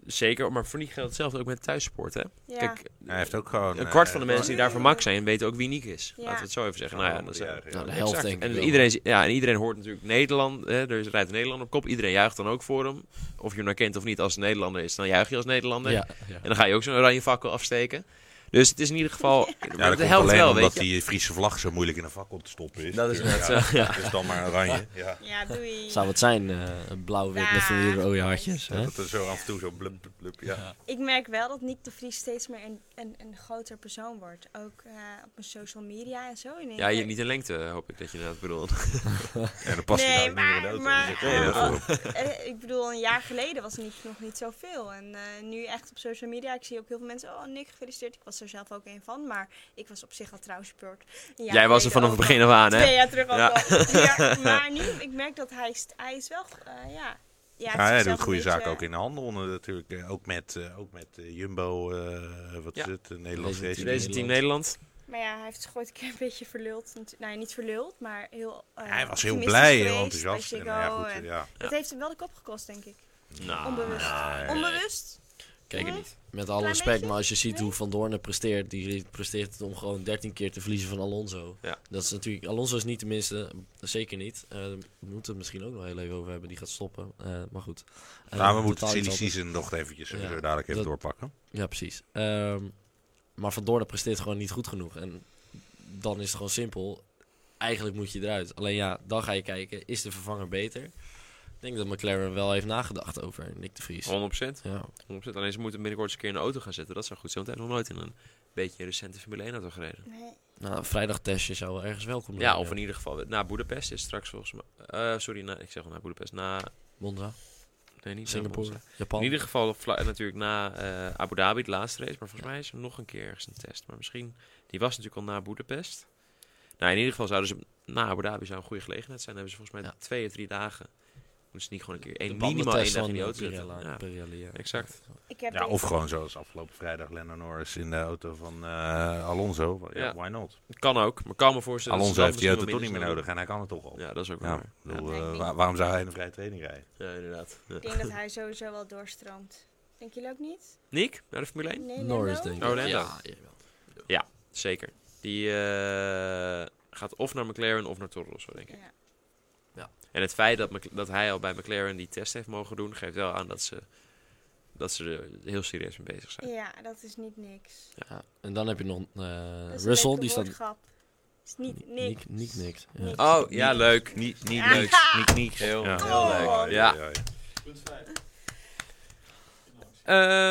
Speaker 1: zeker. Maar voor Niek geldt hetzelfde ook met thuissport, hè?
Speaker 3: Ja.
Speaker 1: Kijk,
Speaker 4: Hij heeft ook gewoon.
Speaker 1: een
Speaker 4: eh,
Speaker 1: kwart van de mensen die daar
Speaker 3: eh,
Speaker 1: voor Max zijn, weten ook wie Niek is.
Speaker 3: Ja.
Speaker 1: Laten we het zo even zeggen. Nou ja, dat zijn-
Speaker 4: Ja,
Speaker 2: Nou, de
Speaker 4: ja.
Speaker 2: helft
Speaker 1: Exact.
Speaker 2: denk ik.
Speaker 1: en,
Speaker 2: wel.
Speaker 1: iedereen, zi- ja, en iedereen hoort natuurlijk Nederland. Hè, er is- rijdt een Nederlander op kop. Iedereen juicht dan ook voor hem. Of je hem nou kent of niet, als het een Nederlander is, dan juich je als Nederlander.
Speaker 2: Ja, ja.
Speaker 1: En dan ga je ook zo'n oranje fakkel afsteken. Dus het is in ieder geval... maar
Speaker 4: Ja, dat
Speaker 1: het
Speaker 4: komt
Speaker 1: helpt
Speaker 4: alleen
Speaker 1: wel,
Speaker 4: omdat
Speaker 1: weet je.
Speaker 4: die Friese vlag zo moeilijk in een vakkel te stoppen is.
Speaker 1: Dat is
Speaker 4: natuurlijk.
Speaker 1: net zo,
Speaker 4: Dus dan maar oranje. Ja.
Speaker 3: Ja, doei.
Speaker 2: Zou het zijn, eh, een blauw-wit met van die rode hartjes? Hè?
Speaker 4: Dat er zo af en toe zo blub, blub, blub, ja.
Speaker 3: Ik merk wel dat Nick de Vries steeds meer een, een, een groter persoon wordt. Ook eh, op mijn social media en zo. In één
Speaker 1: Ja,
Speaker 3: keer.
Speaker 1: je, niet in lengte, hoop ik dat je dat bedoelt.
Speaker 4: En dan past hij
Speaker 3: Nee,
Speaker 4: nou niet meer
Speaker 3: maar,
Speaker 4: in
Speaker 3: maar
Speaker 4: de auto. Dus ik- nee, dat is
Speaker 3: eh,
Speaker 4: wel-
Speaker 3: eh, ik bedoel, een jaar geleden was Nick nog niet zoveel. En eh, nu echt op social media, ik zie ook heel veel mensen, oh Nick, gefeliciteerd. Ik was er zelf ook een van, maar ik was op zich al trouwenspeurd.
Speaker 1: Jij was er vanaf het begin af aan,
Speaker 3: Twee
Speaker 1: hè?
Speaker 3: jaar terug al.
Speaker 1: Ja.
Speaker 3: wel. Ja, maar nu, ik merk dat hij, st- hij is wel, eh, ja. Ja,
Speaker 4: Ja, Ah, hij doet goede zaken ook in de handel eh, natuurlijk. eh, Ook met, eh, ook met eh, Jumbo, eh, wat
Speaker 1: Ja.
Speaker 4: is het, een Nederlands
Speaker 2: Deze
Speaker 4: racing.
Speaker 1: Deze team Nederland.
Speaker 3: Maar ja, hij heeft zich ooit een keer een beetje verluld. Natu- Nou, ja, niet verluld, maar heel eh,
Speaker 4: Hij was heel
Speaker 3: optimistisch
Speaker 4: blij,
Speaker 3: geweest
Speaker 4: heel enthousiast.
Speaker 3: bij
Speaker 4: En, nou ja,
Speaker 3: Ziggo
Speaker 4: goed,
Speaker 3: en-
Speaker 4: ja.
Speaker 3: Dat heeft hem wel de kop gekost, denk ik.
Speaker 1: Nou,
Speaker 3: Onbewust. Onbewust?
Speaker 2: Kijk,
Speaker 3: Nee.
Speaker 2: met alle
Speaker 3: Klein
Speaker 2: respect,
Speaker 3: beetje?
Speaker 2: maar als je ziet
Speaker 3: Nee.
Speaker 2: hoe Van Doornen presteert, die presteert het om gewoon 13 keer te verliezen van Alonso.
Speaker 1: Ja.
Speaker 2: Dat is natuurlijk, Alonso is niet de minste, zeker niet. Eh, we moeten het misschien ook nog heel even over hebben, die gaat stoppen. Eh, maar goed. Eh,
Speaker 4: Nou, we moeten
Speaker 2: totaal
Speaker 4: de
Speaker 2: iets
Speaker 4: silly
Speaker 2: anders.
Speaker 4: season nog eventjes eh,
Speaker 2: Ja,
Speaker 4: zo dadelijk even
Speaker 2: dat-
Speaker 4: doorpakken.
Speaker 2: Ja, precies. Ehm, maar Van Doornen presteert gewoon niet goed genoeg. En dan is het gewoon simpel. Eigenlijk moet je eruit. Alleen ja, dan ga je kijken, is de vervanger beter? Ik denk dat McLaren wel heeft nagedacht over Nick de Vries.
Speaker 1: 100%.
Speaker 2: Ja,
Speaker 1: 100%. Alleen ze moeten binnenkort eens een keer in de auto gaan zetten. Dat zou goed zijn, want hij heeft nog nooit in een beetje recente Formule 1 auto gereden.
Speaker 3: Nee.
Speaker 2: nou, een vrijdagtestje zou wel ergens welkom zijn.
Speaker 1: Ja, of in ieder geval na Boedapest is straks volgens mij... eh, sorry, na, ik zeg al na Boedapest. Na
Speaker 2: Monza.
Speaker 1: Nee, niet
Speaker 2: Singapore,
Speaker 1: Melbourne.
Speaker 2: Japan.
Speaker 1: In ieder geval vla- natuurlijk na eh, Abu Dhabi, de laatste race. Maar volgens mij is er nog een keer ergens een test. Maar misschien, die was natuurlijk al na Boedapest. Nou, in ieder geval zouden ze na Abu Dhabi zou een goede gelegenheid zijn. Dan hebben ze volgens mij
Speaker 2: Ja.
Speaker 1: twee of drie dagen. Moeten ze niet gewoon een keer
Speaker 2: De
Speaker 1: één, minimaal één
Speaker 2: bandentest
Speaker 1: dag in
Speaker 2: van,
Speaker 1: die
Speaker 2: eh,
Speaker 1: auto zetten.
Speaker 2: Pirelli-
Speaker 1: Ja,
Speaker 2: Pirelli, ja.
Speaker 1: exact.
Speaker 3: Ik heb
Speaker 4: Ja,
Speaker 3: denk-
Speaker 4: of gewoon zoals afgelopen vrijdag Lennon Norris in de auto van eh, Alonso. Ja,
Speaker 1: Ja,
Speaker 4: why not?
Speaker 1: Kan ook, maar kan me voorstellen. dat ze
Speaker 4: Alonso
Speaker 1: dan
Speaker 4: heeft die
Speaker 1: misschien
Speaker 4: auto toch
Speaker 1: wel
Speaker 4: niet meer
Speaker 1: minder
Speaker 4: nodig en hij kan het toch al.
Speaker 1: snel doen. Ja, dat is ook
Speaker 4: Ja,
Speaker 1: wel
Speaker 4: ik
Speaker 1: waar. eh,
Speaker 4: bedoel,
Speaker 3: Ja.
Speaker 4: eh, wa- waarom zou hij in een vrije training rijden?
Speaker 1: Ja, inderdaad. Ja.
Speaker 3: Ik denk dat hij sowieso wel doorstroomt. Denk jullie ook niet?
Speaker 1: Nick, naar de Formule 1?
Speaker 3: Nee,
Speaker 2: Norris,
Speaker 3: Lando?
Speaker 2: denk ik.
Speaker 1: Oh, Lando.
Speaker 2: Ja, jawel.
Speaker 1: Zeker. Die eh, gaat of naar McLaren of naar Toro Rosso, denk ik.
Speaker 3: Ja.
Speaker 1: En het feit dat, Mc- dat hij al bij McLaren die test heeft mogen doen, geeft wel aan dat ze, dat ze er heel serieus mee bezig zijn.
Speaker 3: ja, dat is niet niks.
Speaker 2: Ja, En dan heb je nog eh,
Speaker 3: Dat is een
Speaker 2: Russell,
Speaker 3: leuke
Speaker 2: die staat...
Speaker 3: woordgrap. Is niet niks.
Speaker 2: Nick, Nick niks. Ja.
Speaker 3: Niks.
Speaker 1: Oh, ja, leuk. Niet, niet
Speaker 3: Ja.
Speaker 1: leuk.
Speaker 4: Niet niks.
Speaker 1: Heel,
Speaker 4: Ja.
Speaker 1: heel leuk. Ja.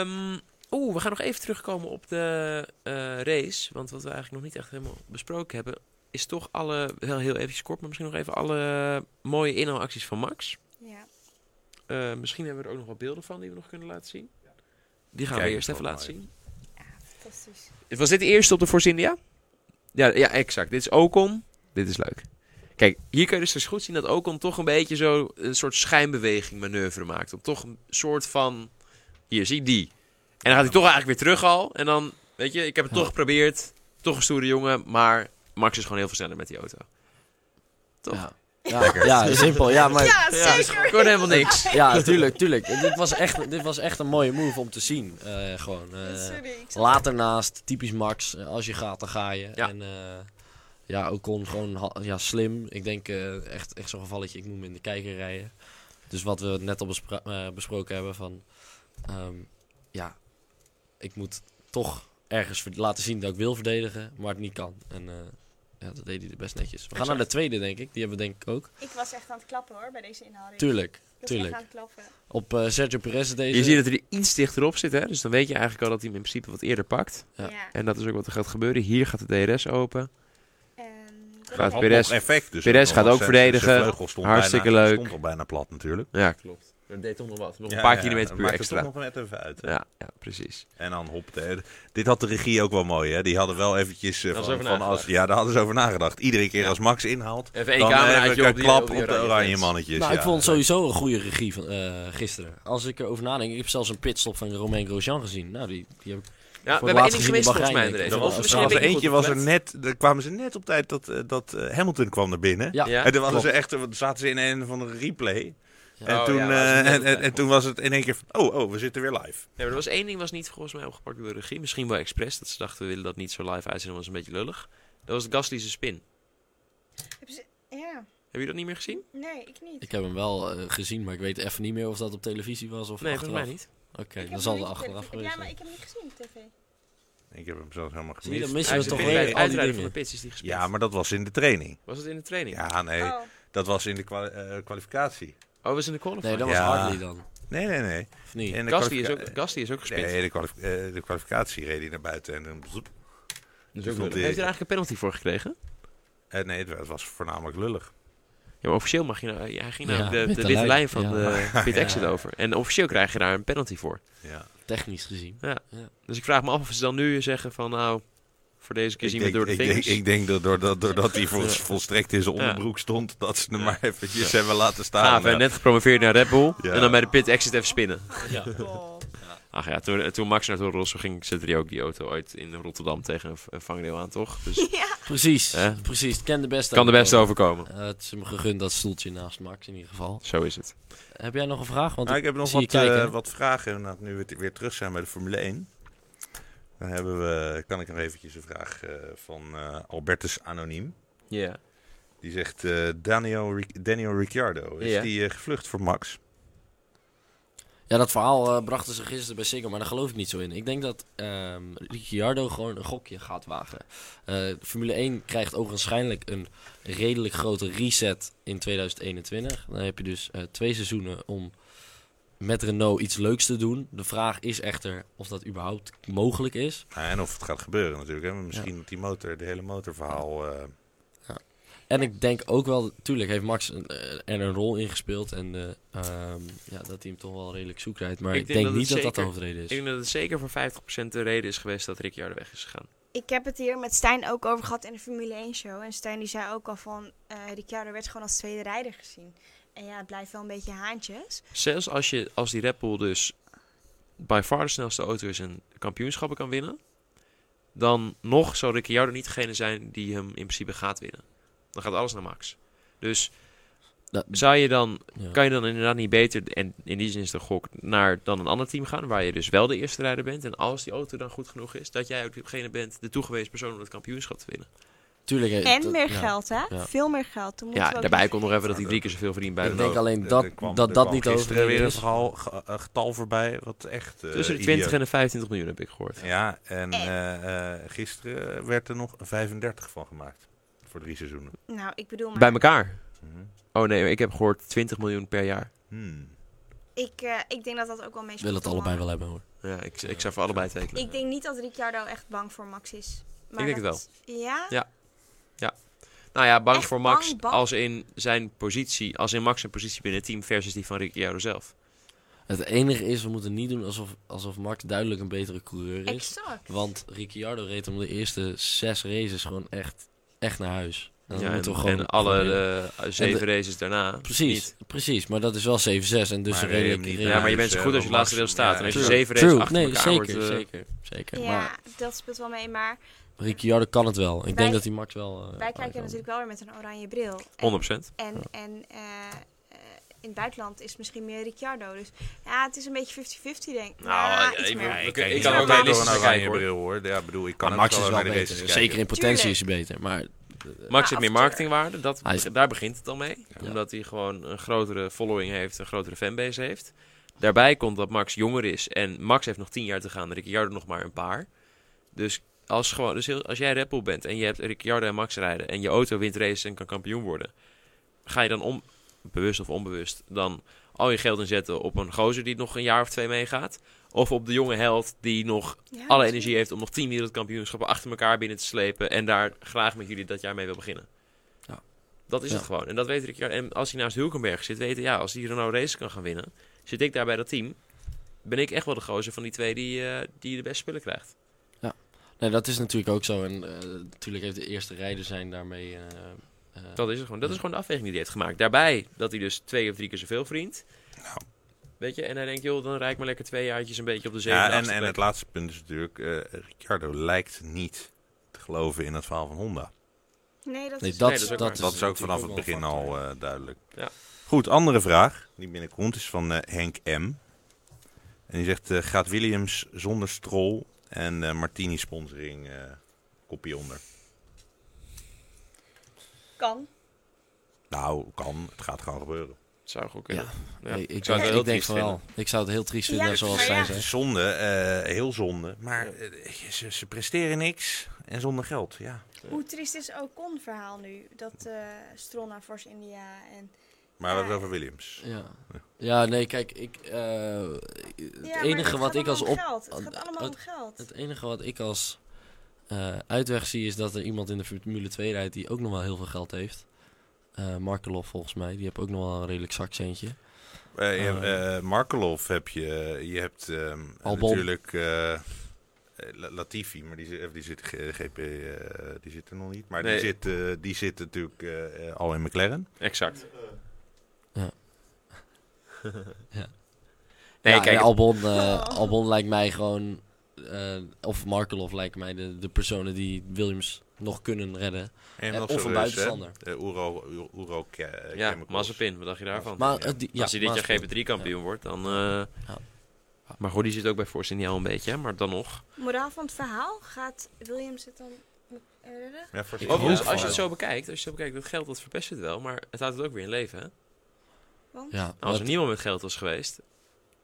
Speaker 1: Ehm, Oeh, we gaan nog even terugkomen op de eh, race. Want wat we eigenlijk nog niet echt helemaal besproken hebben, is toch alle, heel, heel even kort, maar misschien nog even alle mooie inhaalacties van Max.
Speaker 3: Ja.
Speaker 1: Eh, misschien hebben we er ook nog wat beelden van die we nog kunnen laten zien. Die gaan
Speaker 4: Kijk,
Speaker 1: we eerst
Speaker 4: dat
Speaker 1: even
Speaker 4: is
Speaker 1: laten
Speaker 4: wel
Speaker 1: zien.
Speaker 3: ja, fantastisch.
Speaker 1: Was dit de eerste op de Force India? Ja, ja, exact. Dit is Ocon. Dit is leuk. Kijk, hier kan je dus goed zien dat Ocon toch een beetje zo een soort schijnbeweging manoeuvre maakt. Om toch een soort van, hier zie die. En dan gaat hij toch eigenlijk weer terug al. En dan, weet je, ik heb het
Speaker 2: Ja.
Speaker 1: toch geprobeerd. Toch een stoere jongen, maar Max is gewoon heel veel sneller met die auto. Toch?
Speaker 2: Ja. Ja, ja, simpel. Ja, maar
Speaker 3: Ja,
Speaker 1: Ja,
Speaker 3: zeker.
Speaker 1: ik hoorde helemaal niks.
Speaker 2: Ja, tuurlijk, tuurlijk. dit, was echt, dit was echt een mooie move om te zien. eh, gewoon. eh,
Speaker 3: Sorry, ik zat-
Speaker 2: later naast, typisch Max. eh, als je gaat, dan ga je.
Speaker 1: Ja.
Speaker 2: En eh, ja, Ocon gewoon ha- ja, slim. Ik denk eh, echt, echt zo'n gevalletje, ik noem in de kijker rijden. Dus wat we net al bespra- eh, besproken hebben van... ehm, ja, ik moet toch ergens ver- laten zien dat ik wil verdedigen, maar het niet kan. En eh, ja, dat deed hij best netjes. We gaan naar de tweede, denk ik. Die hebben we denk ik ook.
Speaker 3: Ik was echt aan het klappen hoor, bij deze inhouding.
Speaker 2: Tuurlijk,
Speaker 3: Ik was
Speaker 2: tuurlijk.
Speaker 3: echt aan het klappen.
Speaker 2: Op eh, Sergio Perez deze.
Speaker 1: Je ziet dat hij er iets dichterop zit, hè? Dus dan weet je eigenlijk al dat hij hem in principe wat eerder pakt.
Speaker 2: Ja.
Speaker 3: Ja.
Speaker 1: En dat is ook wat er gaat gebeuren. Hier gaat de DRS open.
Speaker 3: En ehm, dat
Speaker 1: Gaat
Speaker 3: heb
Speaker 1: Perez-
Speaker 4: effect, dus
Speaker 1: Perez gaat ook
Speaker 4: Zijn-
Speaker 1: verdedigen.
Speaker 4: zijn vleugel stond
Speaker 1: Hartstikke
Speaker 4: bijna,
Speaker 1: leuk.
Speaker 4: Stond al bijna plat natuurlijk.
Speaker 1: Ja, klopt. Dat deed toch nog wat. Nog
Speaker 4: Ja,
Speaker 1: een paar
Speaker 4: ja,
Speaker 1: kilometer
Speaker 4: dat
Speaker 1: per uur
Speaker 4: maakt het
Speaker 1: extra.
Speaker 4: toch nog net even uit. hè.
Speaker 1: Ja, ja, precies.
Speaker 4: En dan hop. de- Dit had de regie ook wel mooi. Hè? Die hadden wel eventjes eh,
Speaker 1: Daar was
Speaker 4: van,
Speaker 1: over
Speaker 4: van als,
Speaker 1: nagedacht.
Speaker 4: ja, daar hadden ze over nagedacht. Iedere keer
Speaker 1: Ja.
Speaker 4: als Max inhaalt,
Speaker 1: Even één
Speaker 4: dan
Speaker 1: camera
Speaker 4: heb ik een
Speaker 1: oh,
Speaker 4: klap op de oranje mannetjes.
Speaker 2: nou,
Speaker 4: ja.
Speaker 2: ik vond het sowieso een goede regie van, eh, gisteren. Als ik erover nadenk, ik heb zelfs een pitstop van Romain Grosjean gezien. Nou, die, die heb ik...
Speaker 1: Ja,
Speaker 2: Voor
Speaker 1: we
Speaker 2: het
Speaker 1: hebben één ding
Speaker 2: laatst gezien
Speaker 1: gemist
Speaker 2: in
Speaker 1: volgens mij in
Speaker 2: Bahrein,
Speaker 1: de
Speaker 2: denk
Speaker 1: race.
Speaker 2: ik.
Speaker 4: Er
Speaker 2: Dat
Speaker 1: Want
Speaker 2: was
Speaker 4: was, er
Speaker 1: misschien
Speaker 4: was
Speaker 1: heb
Speaker 4: er
Speaker 1: ik niet
Speaker 4: eentje,
Speaker 1: goed
Speaker 4: was er
Speaker 1: gelet.
Speaker 4: net, daar kwamen ze net op tijd dat, eh, dat eh, Hamilton kwam er binnen.
Speaker 2: Ja,
Speaker 1: Ja.
Speaker 4: En toen hadden ze
Speaker 2: klopt.
Speaker 4: echt, eh, zaten ze in een van de replay.
Speaker 2: Ja.
Speaker 4: En,
Speaker 1: Oh,
Speaker 4: toen,
Speaker 1: ja,
Speaker 4: eh,
Speaker 1: waren ze net
Speaker 4: en,
Speaker 1: op
Speaker 4: en,
Speaker 1: tijd.
Speaker 4: en toen was het in één keer van, oh, oh, we zitten weer live.
Speaker 1: Nee, maar er was één ding was niet volgens mij opgepakt door de regie. Misschien wel expres. Dat ze dachten, we willen dat niet zo live uitzenden. want Dat is een beetje lullig. Dat was Gasly's spin.
Speaker 3: ze- Ja,
Speaker 1: Heb je dat niet meer gezien?
Speaker 3: nee, ik niet.
Speaker 2: Ik heb hem wel eh, gezien, maar ik weet even niet meer of dat op televisie was of
Speaker 1: Nee, volgens
Speaker 2: achteraf.
Speaker 1: mij niet.
Speaker 2: Oké,
Speaker 3: Ik heb
Speaker 2: dan zal
Speaker 3: hem
Speaker 2: het
Speaker 3: niet op
Speaker 2: achteraf geweest
Speaker 3: televisie- Ja, maar
Speaker 2: zijn.
Speaker 3: ik heb hem niet gezien op tv.
Speaker 4: Ik heb hem zelfs helemaal
Speaker 2: Zie je, dan
Speaker 4: gemist.
Speaker 2: missen
Speaker 1: Hij
Speaker 2: we
Speaker 1: is
Speaker 2: toch
Speaker 1: toch bij
Speaker 2: weer
Speaker 1: het
Speaker 2: al die
Speaker 1: uitrijden van de
Speaker 2: dingen.
Speaker 1: pits is die gespint.
Speaker 4: Ja, maar dat was in de training.
Speaker 1: Was het in de training?
Speaker 4: Ja, nee,
Speaker 3: Oh,
Speaker 4: dat was in de kwali- eh, kwalificatie.
Speaker 1: Oh, was in de qualifier.
Speaker 2: Nee, dat was
Speaker 4: Ja.
Speaker 2: Hartley dan.
Speaker 4: Nee, nee, nee.
Speaker 2: Of niet?
Speaker 4: In de
Speaker 1: Gasly is
Speaker 4: kwalifica-
Speaker 1: ook, Gasly is ook gespint.
Speaker 4: Nee, de, kwalif- eh, de kwalificatie reed hij naar buiten en dan... zoep.
Speaker 1: Dat is ook
Speaker 4: dat vond
Speaker 1: lullig. Heeft
Speaker 4: ik-
Speaker 1: hij er eigenlijk een penalty voor gekregen?
Speaker 4: Eh, nee, het wa- het was voornamelijk lullig.
Speaker 1: Ja, maar officieel mag je nou, hij ging
Speaker 2: Ja,
Speaker 1: nou de,
Speaker 2: witte
Speaker 1: de witte
Speaker 2: lijn.
Speaker 1: lijn van
Speaker 2: Ja.
Speaker 1: de pit exit over. En officieel krijg je daar een penalty voor.
Speaker 4: Ja.
Speaker 2: Technisch gezien.
Speaker 1: Dus ik vraag me af of ze dan nu zeggen van nou, voor deze keer
Speaker 4: Ik
Speaker 1: zien we
Speaker 4: denk,
Speaker 1: door de
Speaker 4: ik, denk,
Speaker 1: vingers.
Speaker 4: ik denk dat doordat, doordat hij vol- volstrekt in zijn
Speaker 1: Ja.
Speaker 4: onderbroek stond, dat ze hem maar eventjes hebben laten
Speaker 1: Ah, we
Speaker 4: staan.
Speaker 1: zijn net gepromoveerd naar Red Bull.
Speaker 4: nou. Ja.
Speaker 1: En dan bij de pit exit even spinnen.
Speaker 2: Ja.
Speaker 3: God.
Speaker 1: Ach ja, toen, toen Max naar Toro Rosso ging, zette hij ook die auto uit in Rotterdam tegen een v- een vangdeel aan, toch? Dus
Speaker 3: Ja,
Speaker 2: Precies,
Speaker 1: Eh?
Speaker 2: precies. Het Ken de beste.
Speaker 1: kan de beste
Speaker 2: ook.
Speaker 1: overkomen.
Speaker 2: Eh, het is hem gegund dat stoeltje naast Max in ieder geval.
Speaker 1: Zo is het.
Speaker 2: Heb jij nog een vraag? Want
Speaker 4: Nou, ik heb nog
Speaker 2: zie je
Speaker 4: wat, eh,
Speaker 2: kijken.
Speaker 4: wat vragen. inderdaad, nu we t- weer terug zijn bij de Formule 1, dan hebben we, kan ik nog eventjes een vraag eh, van eh, Albertus Anoniem.
Speaker 1: Ja.
Speaker 4: Die zegt, eh, Daniel, Ri- Daniel Ricciardo, is
Speaker 1: Ja.
Speaker 4: die eh, gevlucht voor Max?
Speaker 2: Ja, dat verhaal eh, brachten ze gisteren bij Siggo, maar daar geloof ik niet zo in. Ik denk dat ehm Ricciardo gewoon een gokje gaat wagen. Eh, Formule 1 krijgt ook waarschijnlijk een redelijk grote reset in 2021. Dan heb je dus eh, twee seizoenen om met Renault iets leuks te doen. De vraag is echter of dat überhaupt mogelijk is.
Speaker 4: Nou, en of het gaat gebeuren natuurlijk. Hè? Misschien dat die motor, de hele motorverhaal... eh,
Speaker 2: En ik denk ook wel, tuurlijk heeft Max een- eh, er een rol in gespeeld. En eh, ehm, ja, dat hij hem toch wel redelijk zoek rijdt. Maar
Speaker 1: Ik
Speaker 2: ik,
Speaker 1: denk
Speaker 2: denk,
Speaker 1: dat het
Speaker 2: niet dat dat de
Speaker 1: zeker-
Speaker 2: hoofdreden
Speaker 1: Ik
Speaker 2: is.
Speaker 1: denk dat het zeker voor 50% de reden is geweest dat Ricciardo weg is gegaan.
Speaker 3: Ik heb het hier met Stijn ook over gehad in de Formule 1 show. En Stijn die zei ook al van, eh Ricciardo werd gewoon als tweede rijder gezien. En ja, het blijft wel een beetje haantjes.
Speaker 1: Zelfs als, je, als die Red Bull dus by far de snelste auto is en kampioenschappen kan winnen, dan nog zou Ricciardo niet degene zijn die hem in principe gaat winnen. Dan gaat alles naar Max. Dus
Speaker 2: Dat-
Speaker 1: zou je dan,
Speaker 2: ja.
Speaker 1: kan je dan inderdaad niet beter, en in die zin is de gok, naar dan een ander team gaan waar je dus wel de eerste rijder bent. En als die auto dan goed genoeg is, dat jij ook degene bent, de toegewezen persoon om het kampioenschap te winnen.
Speaker 2: Tuurlijk, eh,
Speaker 3: En
Speaker 2: dat-
Speaker 3: meer
Speaker 2: ja.
Speaker 3: geld, hè?
Speaker 2: Ja.
Speaker 3: Veel meer geld. Dan moeten
Speaker 1: Ja,
Speaker 3: we ook
Speaker 1: daarbij
Speaker 3: niet-
Speaker 1: komt nog even dat hij drie keer zoveel verdient bij
Speaker 2: Ik
Speaker 1: de
Speaker 2: denk
Speaker 1: Renault.
Speaker 2: alleen
Speaker 4: Er-
Speaker 2: dat
Speaker 4: er kwam-
Speaker 2: dat,
Speaker 4: er
Speaker 2: dat
Speaker 4: kwam
Speaker 2: niet
Speaker 4: gisteren
Speaker 2: over
Speaker 4: weer een
Speaker 2: is.
Speaker 4: getal, ge- eh, getal voorbij, wat echt eh,
Speaker 1: Tussen de 20 en
Speaker 4: idioot.
Speaker 1: de 25 miljoen heb ik gehoord.
Speaker 4: Ja, en
Speaker 3: Eh.
Speaker 4: eh, eh, gisteren werd er nog 35 van gemaakt. Voor drie seizoenen.
Speaker 3: Nou, ik bedoel, maar
Speaker 1: Bij elkaar.
Speaker 4: Mhm.
Speaker 1: Oh nee, maar ik heb gehoord 20 miljoen per jaar.
Speaker 4: Hmm.
Speaker 3: ik, eh, ik denk dat dat ook wel mee
Speaker 2: Ik wil het allebei wel hebben hoor.
Speaker 1: Ja, ik, ik zou voor allebei tekenen.
Speaker 3: Ik denk niet dat Ricciardo echt bang voor Max is. Maar
Speaker 1: Ik denk
Speaker 3: dat- Ja?
Speaker 1: Ja. nou ja, bang
Speaker 3: echt
Speaker 1: voor Max
Speaker 3: bang, bang.
Speaker 1: als in zijn positie, als in Max zijn positie binnen het team versus die van Ricciardo zelf.
Speaker 2: Het enige is, we moeten niet doen alsof, alsof Max duidelijk een betere coureur is.
Speaker 3: Exact.
Speaker 2: Want Ricciardo reed hem de eerste zes races gewoon echt, echt naar huis. En dat
Speaker 1: ja, en,
Speaker 2: moeten we gewoon,
Speaker 1: en alle
Speaker 2: gewoon winnen.
Speaker 1: eh, zeven
Speaker 2: En
Speaker 1: races daarna.
Speaker 2: Precies,
Speaker 1: niet.
Speaker 2: precies. Maar dat is wel 7-6 en dus
Speaker 4: Maar
Speaker 2: een
Speaker 4: reed hem
Speaker 2: redelijk...
Speaker 4: niet,
Speaker 1: Ja,
Speaker 4: Ja,
Speaker 1: maar je
Speaker 4: dus,
Speaker 1: bent zo
Speaker 4: eh,
Speaker 1: goed als je
Speaker 4: Max-
Speaker 1: laatste deel staat. en als je
Speaker 4: ja,
Speaker 1: zeven races
Speaker 2: True,
Speaker 1: achter
Speaker 2: nee,
Speaker 1: elkaar
Speaker 2: zeker,
Speaker 1: wordt... eh,
Speaker 2: zeker, zeker.
Speaker 3: Ja,
Speaker 2: Maar
Speaker 3: dat speelt wel mee. Maar
Speaker 2: Ricciardo kan het wel. Ik
Speaker 3: Wij-
Speaker 2: denk dat hij Max wel... eh,
Speaker 3: wij
Speaker 2: aan
Speaker 3: kijken
Speaker 2: kan.
Speaker 3: natuurlijk wel weer met een oranje bril. En-
Speaker 1: 100%.
Speaker 3: En, en eh, eh, in het buitenland is het misschien meer Ricciardo. Dus ja, het is een beetje 50-50 denk ik.
Speaker 1: eh,
Speaker 3: Nou, iets meer.
Speaker 1: ik-
Speaker 4: ik,
Speaker 1: ik
Speaker 4: ik
Speaker 1: kan ook
Speaker 4: kan ook wel door
Speaker 1: realistisch
Speaker 4: een oranje
Speaker 1: kijken, hoor.
Speaker 4: bril hoor. Ja, bedoel, ik kan
Speaker 2: Maar
Speaker 4: ook
Speaker 2: Max is wel
Speaker 4: naar de races
Speaker 2: beter.
Speaker 4: kijken.
Speaker 2: Zeker in potentie is hij beter. Maar
Speaker 1: Max
Speaker 3: af
Speaker 1: heeft
Speaker 3: en
Speaker 1: meer
Speaker 3: toe.
Speaker 1: marketingwaarde, dat,
Speaker 2: Hij is-
Speaker 1: daar begint het dan mee.
Speaker 2: Ja.
Speaker 1: Omdat hij gewoon een grotere following heeft, een grotere fanbase heeft. Daarbij komt dat Max jonger is en Max heeft nog tien jaar te gaan, Ricciardo nog maar een paar. Dus als, gewoon, dus heel- als jij Red Bull bent en je hebt Ricciardo en Max rijden en je auto wint races en kan kampioen worden, ga je dan om, bewust of onbewust, dan al je geld inzetten op een gozer die nog een jaar of twee meegaat? Of op de jonge held die nog
Speaker 3: Ja,
Speaker 1: alle
Speaker 3: natuurlijk.
Speaker 1: energie heeft om nog tien wereldkampioenschappen achter elkaar binnen te slepen en daar graag met jullie dat jaar mee wil beginnen.
Speaker 2: Ja.
Speaker 1: Dat is
Speaker 2: Ja.
Speaker 1: het gewoon. En dat weet ik. En als hij naast Hulkenberg zit, weet hij, ja, als hij Renault Race kan gaan winnen, zit ik daar bij dat team. Ben ik echt wel de gozer van die twee die, eh, die de beste spullen krijgt.
Speaker 2: nee, dat is natuurlijk ook zo. En eh, natuurlijk heeft de eerste rijder zijn daarmee... eh, eh,
Speaker 1: Dat is het gewoon. Dat is gewoon de afweging die hij heeft gemaakt. Daarbij dat hij dus twee of drie keer zoveel verdient. Weet je, en hij denkt, joh, dan rijd ik maar lekker twee jaartjes een beetje op de zeven.
Speaker 4: Ja, en,
Speaker 1: achtste
Speaker 4: en
Speaker 1: plek.
Speaker 4: het laatste punt is natuurlijk, eh, Ricciardo lijkt niet te geloven in het verhaal van Honda.
Speaker 3: Nee, dat
Speaker 2: Nee,
Speaker 3: is
Speaker 2: dat,
Speaker 1: Nee, dat is ook
Speaker 2: dat,
Speaker 1: waar.
Speaker 2: is,
Speaker 4: dat is ook
Speaker 2: natuurlijk
Speaker 4: vanaf het
Speaker 2: wel
Speaker 4: begin
Speaker 2: een factor.
Speaker 4: al eh, duidelijk.
Speaker 1: Ja.
Speaker 4: Goed, andere vraag die binnenkomt is van eh, Henk M. En die zegt, eh, gaat Williams zonder strol en eh, Martini sponsoring eh kopie onder?
Speaker 3: kan.
Speaker 4: Nou, kan. Het gaat gewoon gebeuren.
Speaker 1: zou goed kunnen. Ja.
Speaker 2: Nee, ik,
Speaker 1: zou
Speaker 2: zou
Speaker 1: het heel
Speaker 2: ik, denk
Speaker 1: triest
Speaker 2: van wel. Ik zou het heel triest vinden
Speaker 3: Ja,
Speaker 2: zoals
Speaker 3: maar
Speaker 2: zij
Speaker 3: ja.
Speaker 4: Het
Speaker 2: zei.
Speaker 4: is zonde, eh, heel zonde. Maar eh, ze, ze presteren niks en zonder geld, ja.
Speaker 3: Hoe triest is Ocon verhaal nu? Dat eh Stroll naar Force India en...
Speaker 4: Maar wat
Speaker 3: Ja.
Speaker 4: over Williams?
Speaker 2: Ja. ja, nee, kijk, ik, eh,
Speaker 3: Ja,
Speaker 2: het
Speaker 3: maar
Speaker 2: enige wat
Speaker 3: gaat
Speaker 2: ik als
Speaker 3: allemaal om
Speaker 2: op,
Speaker 3: Geld. Het gaat allemaal om geld.
Speaker 2: Het enige wat ik als eh, uitweg zie is dat er iemand in de Formule 2 rijdt die ook nog wel heel veel geld heeft. Eh Markelov volgens mij, die heeft ook nog wel een redelijk zakcentje.
Speaker 4: Eh, je hebt,
Speaker 2: Eh.
Speaker 4: eh, Markelov heb je. Je hebt ehm,
Speaker 2: Albon.
Speaker 4: natuurlijk eh, eh, La- Latifi, maar die, zit- eh, die, zit, eh, GP, eh, die zit er nog niet. Maar
Speaker 1: Nee.
Speaker 4: die, zit, eh, die zit natuurlijk eh, eh, al in McLaren.
Speaker 1: Exact.
Speaker 2: Ja. Ja.
Speaker 1: Nee,
Speaker 2: Ja,
Speaker 1: kijk,
Speaker 2: en
Speaker 1: het-
Speaker 2: Albon, eh,
Speaker 3: Oh.
Speaker 2: Albon lijkt mij gewoon, eh, of Markelov lijkt mij de, de personen die Williams nog kunnen redden.
Speaker 4: En
Speaker 2: Eh,
Speaker 4: nog
Speaker 2: of
Speaker 4: zo'n
Speaker 2: een
Speaker 4: Rus, hè?
Speaker 2: buitenstander.
Speaker 4: Eh, Uro, Uro, Uro Ke- eh,
Speaker 1: ja,
Speaker 4: Chemicals.
Speaker 1: Mazepin, wat dacht je daarvan?
Speaker 2: Maar,
Speaker 4: Ja.
Speaker 2: het die- ja,
Speaker 1: Als hij dit jaar
Speaker 2: Mazepin.
Speaker 1: GP3 kampioen wordt, dan... eh,
Speaker 2: Ja.
Speaker 1: Maar goed, die zit ook bij Force India al een beetje, hè, maar dan nog.
Speaker 3: Moraal van het verhaal gaat Williams het dan redden?
Speaker 4: Oh, Ja, voor
Speaker 2: Ik
Speaker 4: zich
Speaker 1: Overigens,
Speaker 4: wel.
Speaker 1: als je het zo bekijkt, als je het zo bekijkt, dat geld dat verpest het wel, maar het houdt het ook weer in leven, hè?
Speaker 3: Want
Speaker 2: Ja,
Speaker 1: Als er
Speaker 2: wat-
Speaker 1: niemand met geld was geweest,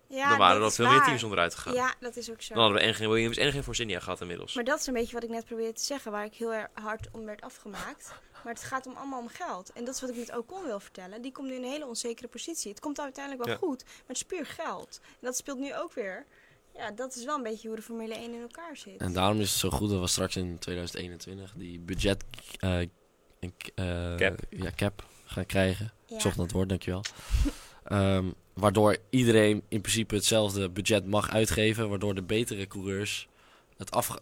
Speaker 3: Ja,
Speaker 1: dan waren er
Speaker 3: dat
Speaker 1: al
Speaker 3: is
Speaker 1: veel meer
Speaker 3: waar.
Speaker 1: teams onderuit gegaan.
Speaker 3: Ja, dat is ook zo.
Speaker 1: Dan hadden we en geen Williams en geen Force India gehad inmiddels.
Speaker 3: Maar dat is een beetje wat ik net probeerde te zeggen, waar ik heel erg hard om werd afgemaakt. Maar het gaat om allemaal om geld. En dat is wat ik met Ocon wil vertellen. Die komt nu in een hele onzekere positie. Het komt uiteindelijk wel
Speaker 1: Ja.
Speaker 3: goed, maar het is puur geld. En dat speelt nu ook weer. Ja, dat is wel een beetje hoe de Formule 1 in elkaar zit.
Speaker 2: En daarom is het zo goed dat we straks in 2021 die budget eh, een k- eh,
Speaker 1: Cap.
Speaker 2: Ja, cap gaan krijgen.
Speaker 3: Ja.
Speaker 2: Ik zocht naar het woord, dankjewel. Ehm waardoor iedereen in principe hetzelfde budget mag uitgeven. Waardoor de betere coureurs het af eh,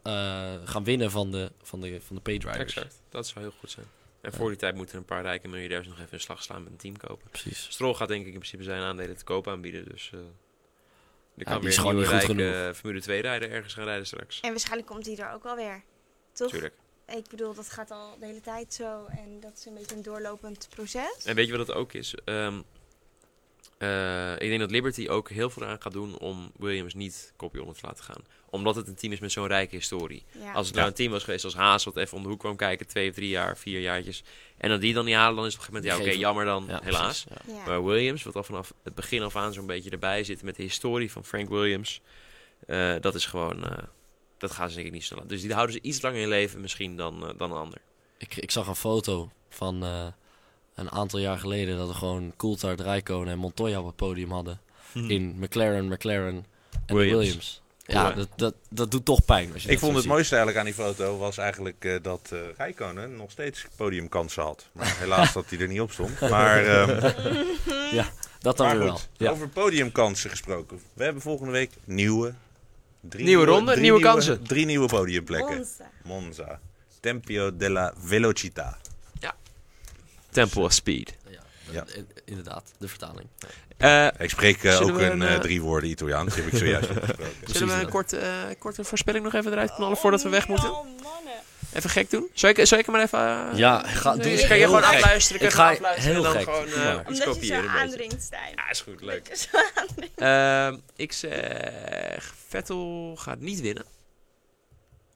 Speaker 2: gaan winnen van de, van de, van de
Speaker 4: dus-
Speaker 2: paydriders.
Speaker 1: Exact. Dat zou heel goed zijn. En voor die tijd moeten een paar rijke miljardairs nog even een slag slaan met een team kopen.
Speaker 2: Precies.
Speaker 1: Strol gaat denk ik in principe zijn aandelen te koop aanbieden. Dus eh er kan
Speaker 2: die
Speaker 1: weer
Speaker 2: is
Speaker 1: een
Speaker 2: gewoon
Speaker 1: nieuwe
Speaker 2: niet goed
Speaker 1: rijke
Speaker 2: genoeg.
Speaker 1: eh, Formule 2 rijder ergens gaan rijden straks.
Speaker 3: En waarschijnlijk komt die er ook wel weer. Toch?
Speaker 1: Tuurlijk.
Speaker 3: Ik bedoel, dat gaat al de hele tijd zo. En dat is een beetje een doorlopend proces.
Speaker 1: En weet je wat het ook is? Ehm, eh, ik denk dat Liberty ook heel veel aan gaat doen om Williams niet kopje onder te laten gaan. Omdat het een team is met zo'n rijke historie.
Speaker 3: Ja.
Speaker 1: Als het nou
Speaker 4: Ja.
Speaker 1: een team was geweest als Haas, wat even om de hoek kwam kijken, twee of drie jaar, vier jaartjes. En dat die dan niet halen, dan is het op een gegeven moment, ja
Speaker 2: Geef
Speaker 1: oké,
Speaker 2: hem.
Speaker 1: jammer dan,
Speaker 2: Ja,
Speaker 1: helaas.
Speaker 2: precies, ja.
Speaker 3: ja.
Speaker 1: Maar Williams, wat al vanaf het begin af aan zo'n beetje erbij zit met de historie van Frank Williams, eh, dat is gewoon, eh, dat gaan ze denk ik niet snel. Dus die houden ze iets langer in leven misschien dan, eh, dan een ander.
Speaker 2: Ik, ik zag een foto van eh, een aantal jaar geleden dat we gewoon Coulthard, Rijkonen en Montoya op het podium hadden. In McLaren, McLaren
Speaker 1: Hm.
Speaker 2: en
Speaker 1: Williams.
Speaker 2: Williams. Ja,
Speaker 1: Cool, hè?
Speaker 2: dat, dat, dat doet toch pijn. Als je
Speaker 4: Ik
Speaker 2: dat zo
Speaker 4: vond het
Speaker 2: ziet.
Speaker 4: mooiste eigenlijk aan die foto was eigenlijk eh, dat eh Rijkonen nog steeds podiumkansen had. Maar helaas dat hij er niet op stond. Maar, ehm,
Speaker 2: Dat dan
Speaker 4: maar
Speaker 2: weer
Speaker 4: goed,
Speaker 2: wel. Ja.
Speaker 4: over podiumkansen gesproken. We hebben volgende week nieuwe... Drie
Speaker 1: Nieuwe ronde,
Speaker 4: drie
Speaker 1: nieuwe kansen.
Speaker 4: Drie nieuwe podiumplekken.
Speaker 3: Monza.
Speaker 4: Monza. Tempio della Velocità.
Speaker 1: Temple of Speed.
Speaker 4: Ja.
Speaker 2: In- Inderdaad, de vertaling.
Speaker 4: Ik spreek eh,
Speaker 1: Zullen
Speaker 4: ook
Speaker 1: we
Speaker 4: een
Speaker 1: een,
Speaker 4: eh,
Speaker 1: eh,
Speaker 4: drie woorden Italiaans, die heb ik zojuist gesproken.
Speaker 2: Precies, ja.
Speaker 1: korte, eh, korte voorspelling nog even eruit knallen
Speaker 3: Oh, mannen.
Speaker 1: Even gek doen? Zal ik, zal ik hem maar even... eh,
Speaker 2: Ja, ga, doe
Speaker 1: dus
Speaker 2: eens
Speaker 1: kan je
Speaker 2: heel
Speaker 1: gewoon
Speaker 2: gek.
Speaker 1: afluisteren, kan
Speaker 2: Ik
Speaker 1: je
Speaker 2: ga
Speaker 1: gewoon afluisteren
Speaker 2: heel
Speaker 1: en dan
Speaker 2: gek.
Speaker 1: gewoon,
Speaker 2: Doe maar.
Speaker 1: eh, Iets
Speaker 3: Omdat je
Speaker 1: kopiëren
Speaker 3: zo
Speaker 1: een beetje.
Speaker 3: aandringt, Stijn.
Speaker 1: Ja, is goed, leuk.
Speaker 3: Lekker zo aandringt.
Speaker 1: Ehm, ik zeg, Vettel gaat niet winnen.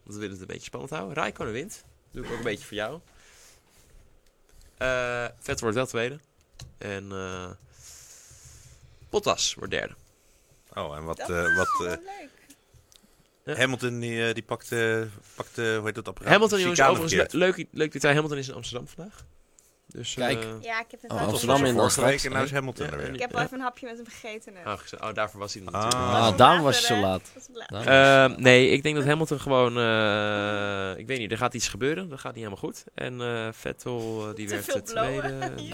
Speaker 1: Want we willen het een beetje spannend houden. Raikkonen wint. Doe ik ook een beetje voor jou. Eh, Vettel wordt wel tweede. En eh Bottas wordt derde.
Speaker 4: Oh, en wat...
Speaker 3: Dat
Speaker 4: eh, wat eh,
Speaker 3: Wat leuk.
Speaker 4: Hamilton die, eh, die pakt, eh, pakt eh, hoe heet dat apparaat?
Speaker 1: Hamilton jongens,
Speaker 4: Chicane
Speaker 1: overigens
Speaker 4: verkeerd.
Speaker 1: le- leuk, leuk detail. Hamilton is in Amsterdam vandaag. Dus, eh,
Speaker 2: Kijk.
Speaker 3: Ja, ik heb het
Speaker 2: Oh,
Speaker 3: wel
Speaker 2: Amsterdam
Speaker 3: gezien.
Speaker 2: in
Speaker 4: Vorige
Speaker 2: Amsterdam.
Speaker 4: week en nou is Hamilton
Speaker 1: Ja,
Speaker 4: er weer.
Speaker 1: en-
Speaker 3: Ik heb wel even een hapje met hem gegeten. net.
Speaker 1: ah, gez- oh, daarvoor was hij
Speaker 4: Ah.
Speaker 1: natuurlijk.
Speaker 4: Ah,
Speaker 3: Dat
Speaker 2: Ah,
Speaker 3: is
Speaker 2: daarom was je
Speaker 3: later,
Speaker 2: zo
Speaker 3: hè?
Speaker 2: laat.
Speaker 3: Dat is laat.
Speaker 2: Daarom was je zo
Speaker 1: Eh,
Speaker 2: laat.
Speaker 1: nee, ik denk dat Hamilton gewoon... eh, ik weet niet, er gaat iets gebeuren. Dat gaat niet helemaal goed. En eh, Vettel, eh, die
Speaker 3: Te
Speaker 1: werd
Speaker 3: veel
Speaker 1: de tweede.
Speaker 3: blowen.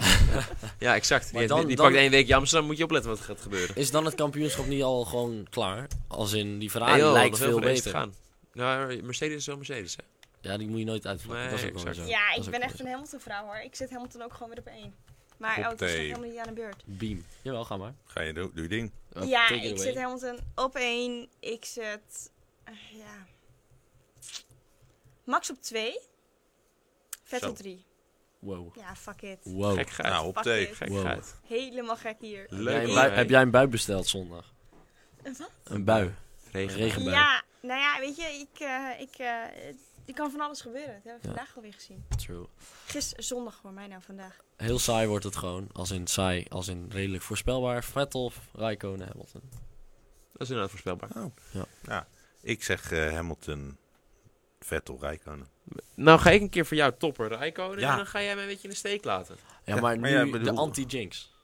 Speaker 1: Ja, exact.
Speaker 2: Maar
Speaker 1: Die,
Speaker 2: dan-
Speaker 1: die
Speaker 2: dan-
Speaker 1: pakt één weekje Amsterdam, moet je opletten wat er gaat gebeuren.
Speaker 2: Is dan het kampioenschap niet al gewoon klaar? Als in, die
Speaker 1: Nee,
Speaker 2: Ferrari
Speaker 1: joh,
Speaker 2: lijkt
Speaker 1: nog heel
Speaker 2: veel
Speaker 1: races te
Speaker 2: beter.
Speaker 1: gaan. Nou, Mercedes is wel Mercedes, hè?
Speaker 2: Ja, die moet je nooit uitvlakken.
Speaker 1: Nee,
Speaker 2: dat is ook wel
Speaker 1: exact.
Speaker 2: zo.
Speaker 3: Ja,
Speaker 2: Dat is
Speaker 3: ik
Speaker 2: ook
Speaker 3: ben
Speaker 2: wel
Speaker 3: echt
Speaker 2: zo.
Speaker 3: een Hamilton-vrouw hoor. Ik zit Hamilton ook gewoon weer op één. Maar
Speaker 4: Op
Speaker 3: oh, het is nog
Speaker 4: één.
Speaker 3: helemaal niet aan de beurt.
Speaker 2: Beam. Jawel, ga maar.
Speaker 4: Ga je doen, doe je ding.
Speaker 2: Uh,
Speaker 3: ja,
Speaker 2: take it
Speaker 3: ik
Speaker 2: away.
Speaker 3: zit Hamilton op één. Ik zet... eh, ja. Max op twee. Vettel
Speaker 4: Zo.
Speaker 3: drie.
Speaker 2: Wow.
Speaker 3: Ja, fuck it.
Speaker 2: Wow.
Speaker 1: Gek gaat.
Speaker 4: Nou, op
Speaker 3: Pak
Speaker 4: thee.
Speaker 3: dit.
Speaker 1: Gek
Speaker 2: Wow.
Speaker 1: gaat.
Speaker 3: Helemaal gek hier.
Speaker 2: Heb jij,
Speaker 4: Leuk.
Speaker 2: een
Speaker 1: hoor.
Speaker 2: bui, heb jij een bui besteld zondag?
Speaker 3: Een wat?
Speaker 2: Een bui.
Speaker 1: Regen.
Speaker 2: Regen. erbij.
Speaker 3: Ja, nou ja, weet je, ik... eh, ik eh, er kan van alles gebeuren. Dat hebben we
Speaker 2: Ja.
Speaker 3: vandaag alweer gezien.
Speaker 2: True.
Speaker 3: Gisteren, zondag voor mij nou vandaag.
Speaker 2: Heel saai wordt het gewoon. Als in saai, als in redelijk voorspelbaar. Vettel, Raikkonen, Hamilton.
Speaker 1: Dat is inderdaad voorspelbaar.
Speaker 4: Oh. Ik zeg eh, Hamilton, Vettel, Rijkonen.
Speaker 1: Nou, ga ik een keer voor jou topper Rijkonen
Speaker 4: Ja.
Speaker 1: en dan ga jij mij een beetje in de steek laten.
Speaker 2: Ja,
Speaker 4: Ja,
Speaker 2: maar,
Speaker 4: maar
Speaker 2: nu
Speaker 4: ja, bedoel-
Speaker 2: de anti-jinx.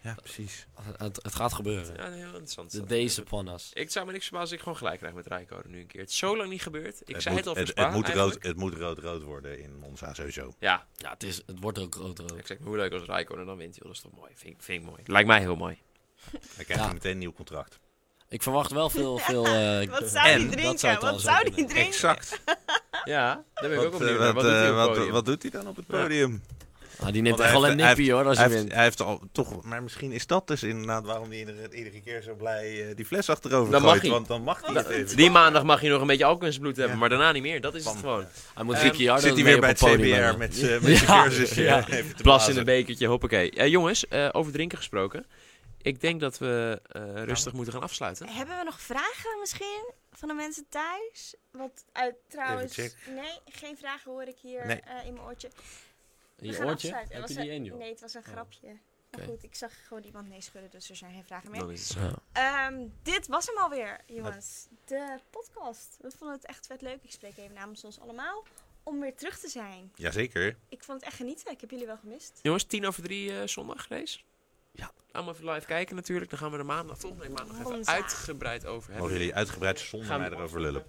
Speaker 4: Ja, precies.
Speaker 2: Het, het gaat gebeuren.
Speaker 1: Ja, heel interessant.
Speaker 2: De deze pannas.
Speaker 1: Ik zou me niks verbazen als ik gewoon gelijk krijg met Rijkonen nu een keer. Het is zo lang niet gebeurd. Ik zei het al voor
Speaker 4: het,
Speaker 1: Spa,
Speaker 4: het, moet
Speaker 1: eigenlijk.
Speaker 4: rood, het moet rood-rood worden in Monza sowieso.
Speaker 1: Ja,
Speaker 2: Ja, het, is, het wordt ook rood-rood.
Speaker 1: exact. Maar Hoe leuk als Rijkonen dan wint, joh. Dat is toch mooi. Vind, ik- vind ik mooi. Lijkt mij heel mooi.
Speaker 4: Dan krijg je
Speaker 2: Ja.
Speaker 4: meteen een nieuw contract.
Speaker 2: Ik verwacht wel veel... veel eh,
Speaker 3: Wat zou
Speaker 4: En?
Speaker 3: die
Speaker 4: Dat
Speaker 2: zou
Speaker 3: drinken? Wat
Speaker 2: trouwens
Speaker 3: zou
Speaker 2: ook
Speaker 3: die
Speaker 2: kunnen.
Speaker 3: drinken?
Speaker 4: Exact.
Speaker 1: Ja, daar ben ik
Speaker 4: Wat,
Speaker 1: ook
Speaker 4: eh,
Speaker 1: opnieuw naar. Wat
Speaker 4: wat,
Speaker 1: doet hij
Speaker 4: eh,
Speaker 1: op het podium?
Speaker 4: wat, wat doet hij dan op het podium?
Speaker 2: ah, die neemt
Speaker 4: Want hij
Speaker 2: echt wel een
Speaker 4: heeft- hij
Speaker 2: nippie hoor, als
Speaker 4: Hij
Speaker 2: hij
Speaker 4: heeft,
Speaker 2: wint.
Speaker 4: hij heeft al toch, maar misschien is dat dus inderdaad waarom hij iedere, iedere keer zo blij eh, die fles achterover
Speaker 1: Dan mag
Speaker 4: gooit.
Speaker 1: hij.
Speaker 4: Want dan mag hij het even.
Speaker 1: Die maandag mag je nog een beetje alcohol in zijn bloed hebben,
Speaker 4: Ja.
Speaker 1: maar daarna niet meer. Dat is het
Speaker 4: Bam.
Speaker 1: gewoon.
Speaker 2: Hij moet
Speaker 1: Ehm,
Speaker 2: Ricciardo
Speaker 4: Zit hij
Speaker 2: mee
Speaker 4: weer
Speaker 2: op
Speaker 4: bij het
Speaker 2: podium hebben.
Speaker 4: CBR met zijn met zijn
Speaker 2: Ja,
Speaker 4: cursusje.
Speaker 2: ja.
Speaker 4: Even te
Speaker 1: Plas in
Speaker 4: blazen.
Speaker 1: een bekertje, hoppakee. Eh, jongens, eh, over drinken gesproken. Ik denk dat we eh, rustig moeten gaan afsluiten.
Speaker 3: Hebben we nog vragen misschien van de mensen thuis? Want uit trouwens,
Speaker 4: Even
Speaker 3: nee, geen vragen hoor ik hier
Speaker 4: Nee.
Speaker 3: eh, in mijn oortje.
Speaker 2: In je
Speaker 3: gaan
Speaker 2: oortje?
Speaker 3: afsluiten.
Speaker 2: Heb
Speaker 3: Het
Speaker 2: je
Speaker 3: was
Speaker 2: die
Speaker 3: een-
Speaker 2: één, joh?
Speaker 3: Nee, het was een grapje. Maar
Speaker 2: Oké.
Speaker 3: goed, ik zag gewoon iemand nee schudden, dus er zijn geen vragen meer.
Speaker 1: Dan is het zo.
Speaker 2: Ja.
Speaker 3: Ehm, dit was hem alweer, jongens. De podcast. We vonden het echt vet leuk. Ik spreek even namens ons allemaal om weer terug te zijn.
Speaker 4: Jazeker.
Speaker 3: Ik vond het echt genieten. Ik heb jullie wel gemist.
Speaker 1: Jongens, tien over drie eh, zondag race.
Speaker 2: Ja.
Speaker 1: Allemaal even live kijken natuurlijk. Dan gaan we er maandag, volgende week maandag even
Speaker 3: Monza.
Speaker 1: uitgebreid over hebben.
Speaker 4: Mogen jullie uitgebreid zonder
Speaker 1: Gaan
Speaker 4: mij
Speaker 1: we-
Speaker 4: erover lullen.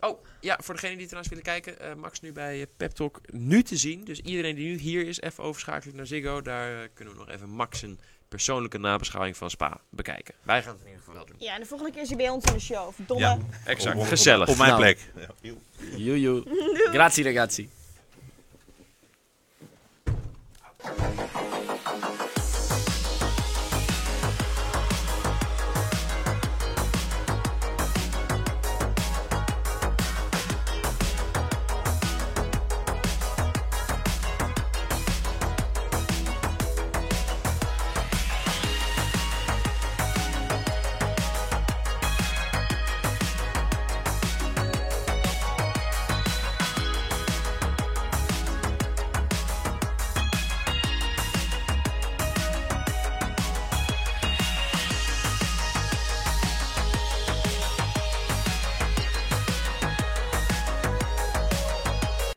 Speaker 1: Oh, ja, voor degenen die trouwens willen kijken, eh, Max nu bij eh, Pep Talk nu te zien. Dus iedereen die nu hier is, even overschakelen naar Ziggo. Daar eh, kunnen we nog even Max een persoonlijke nabeschouwing van Spa bekijken. Wij gaan het in ieder geval wel doen.
Speaker 3: Ja, en de volgende keer is hij bij ons in de show. Verdomme.
Speaker 4: Ja,
Speaker 1: Exact,
Speaker 4: Op- op-
Speaker 1: gezellig.
Speaker 4: Op, mijn
Speaker 2: Nou.
Speaker 4: plek. Ja.
Speaker 2: Joejoe. Grazie ragazzi.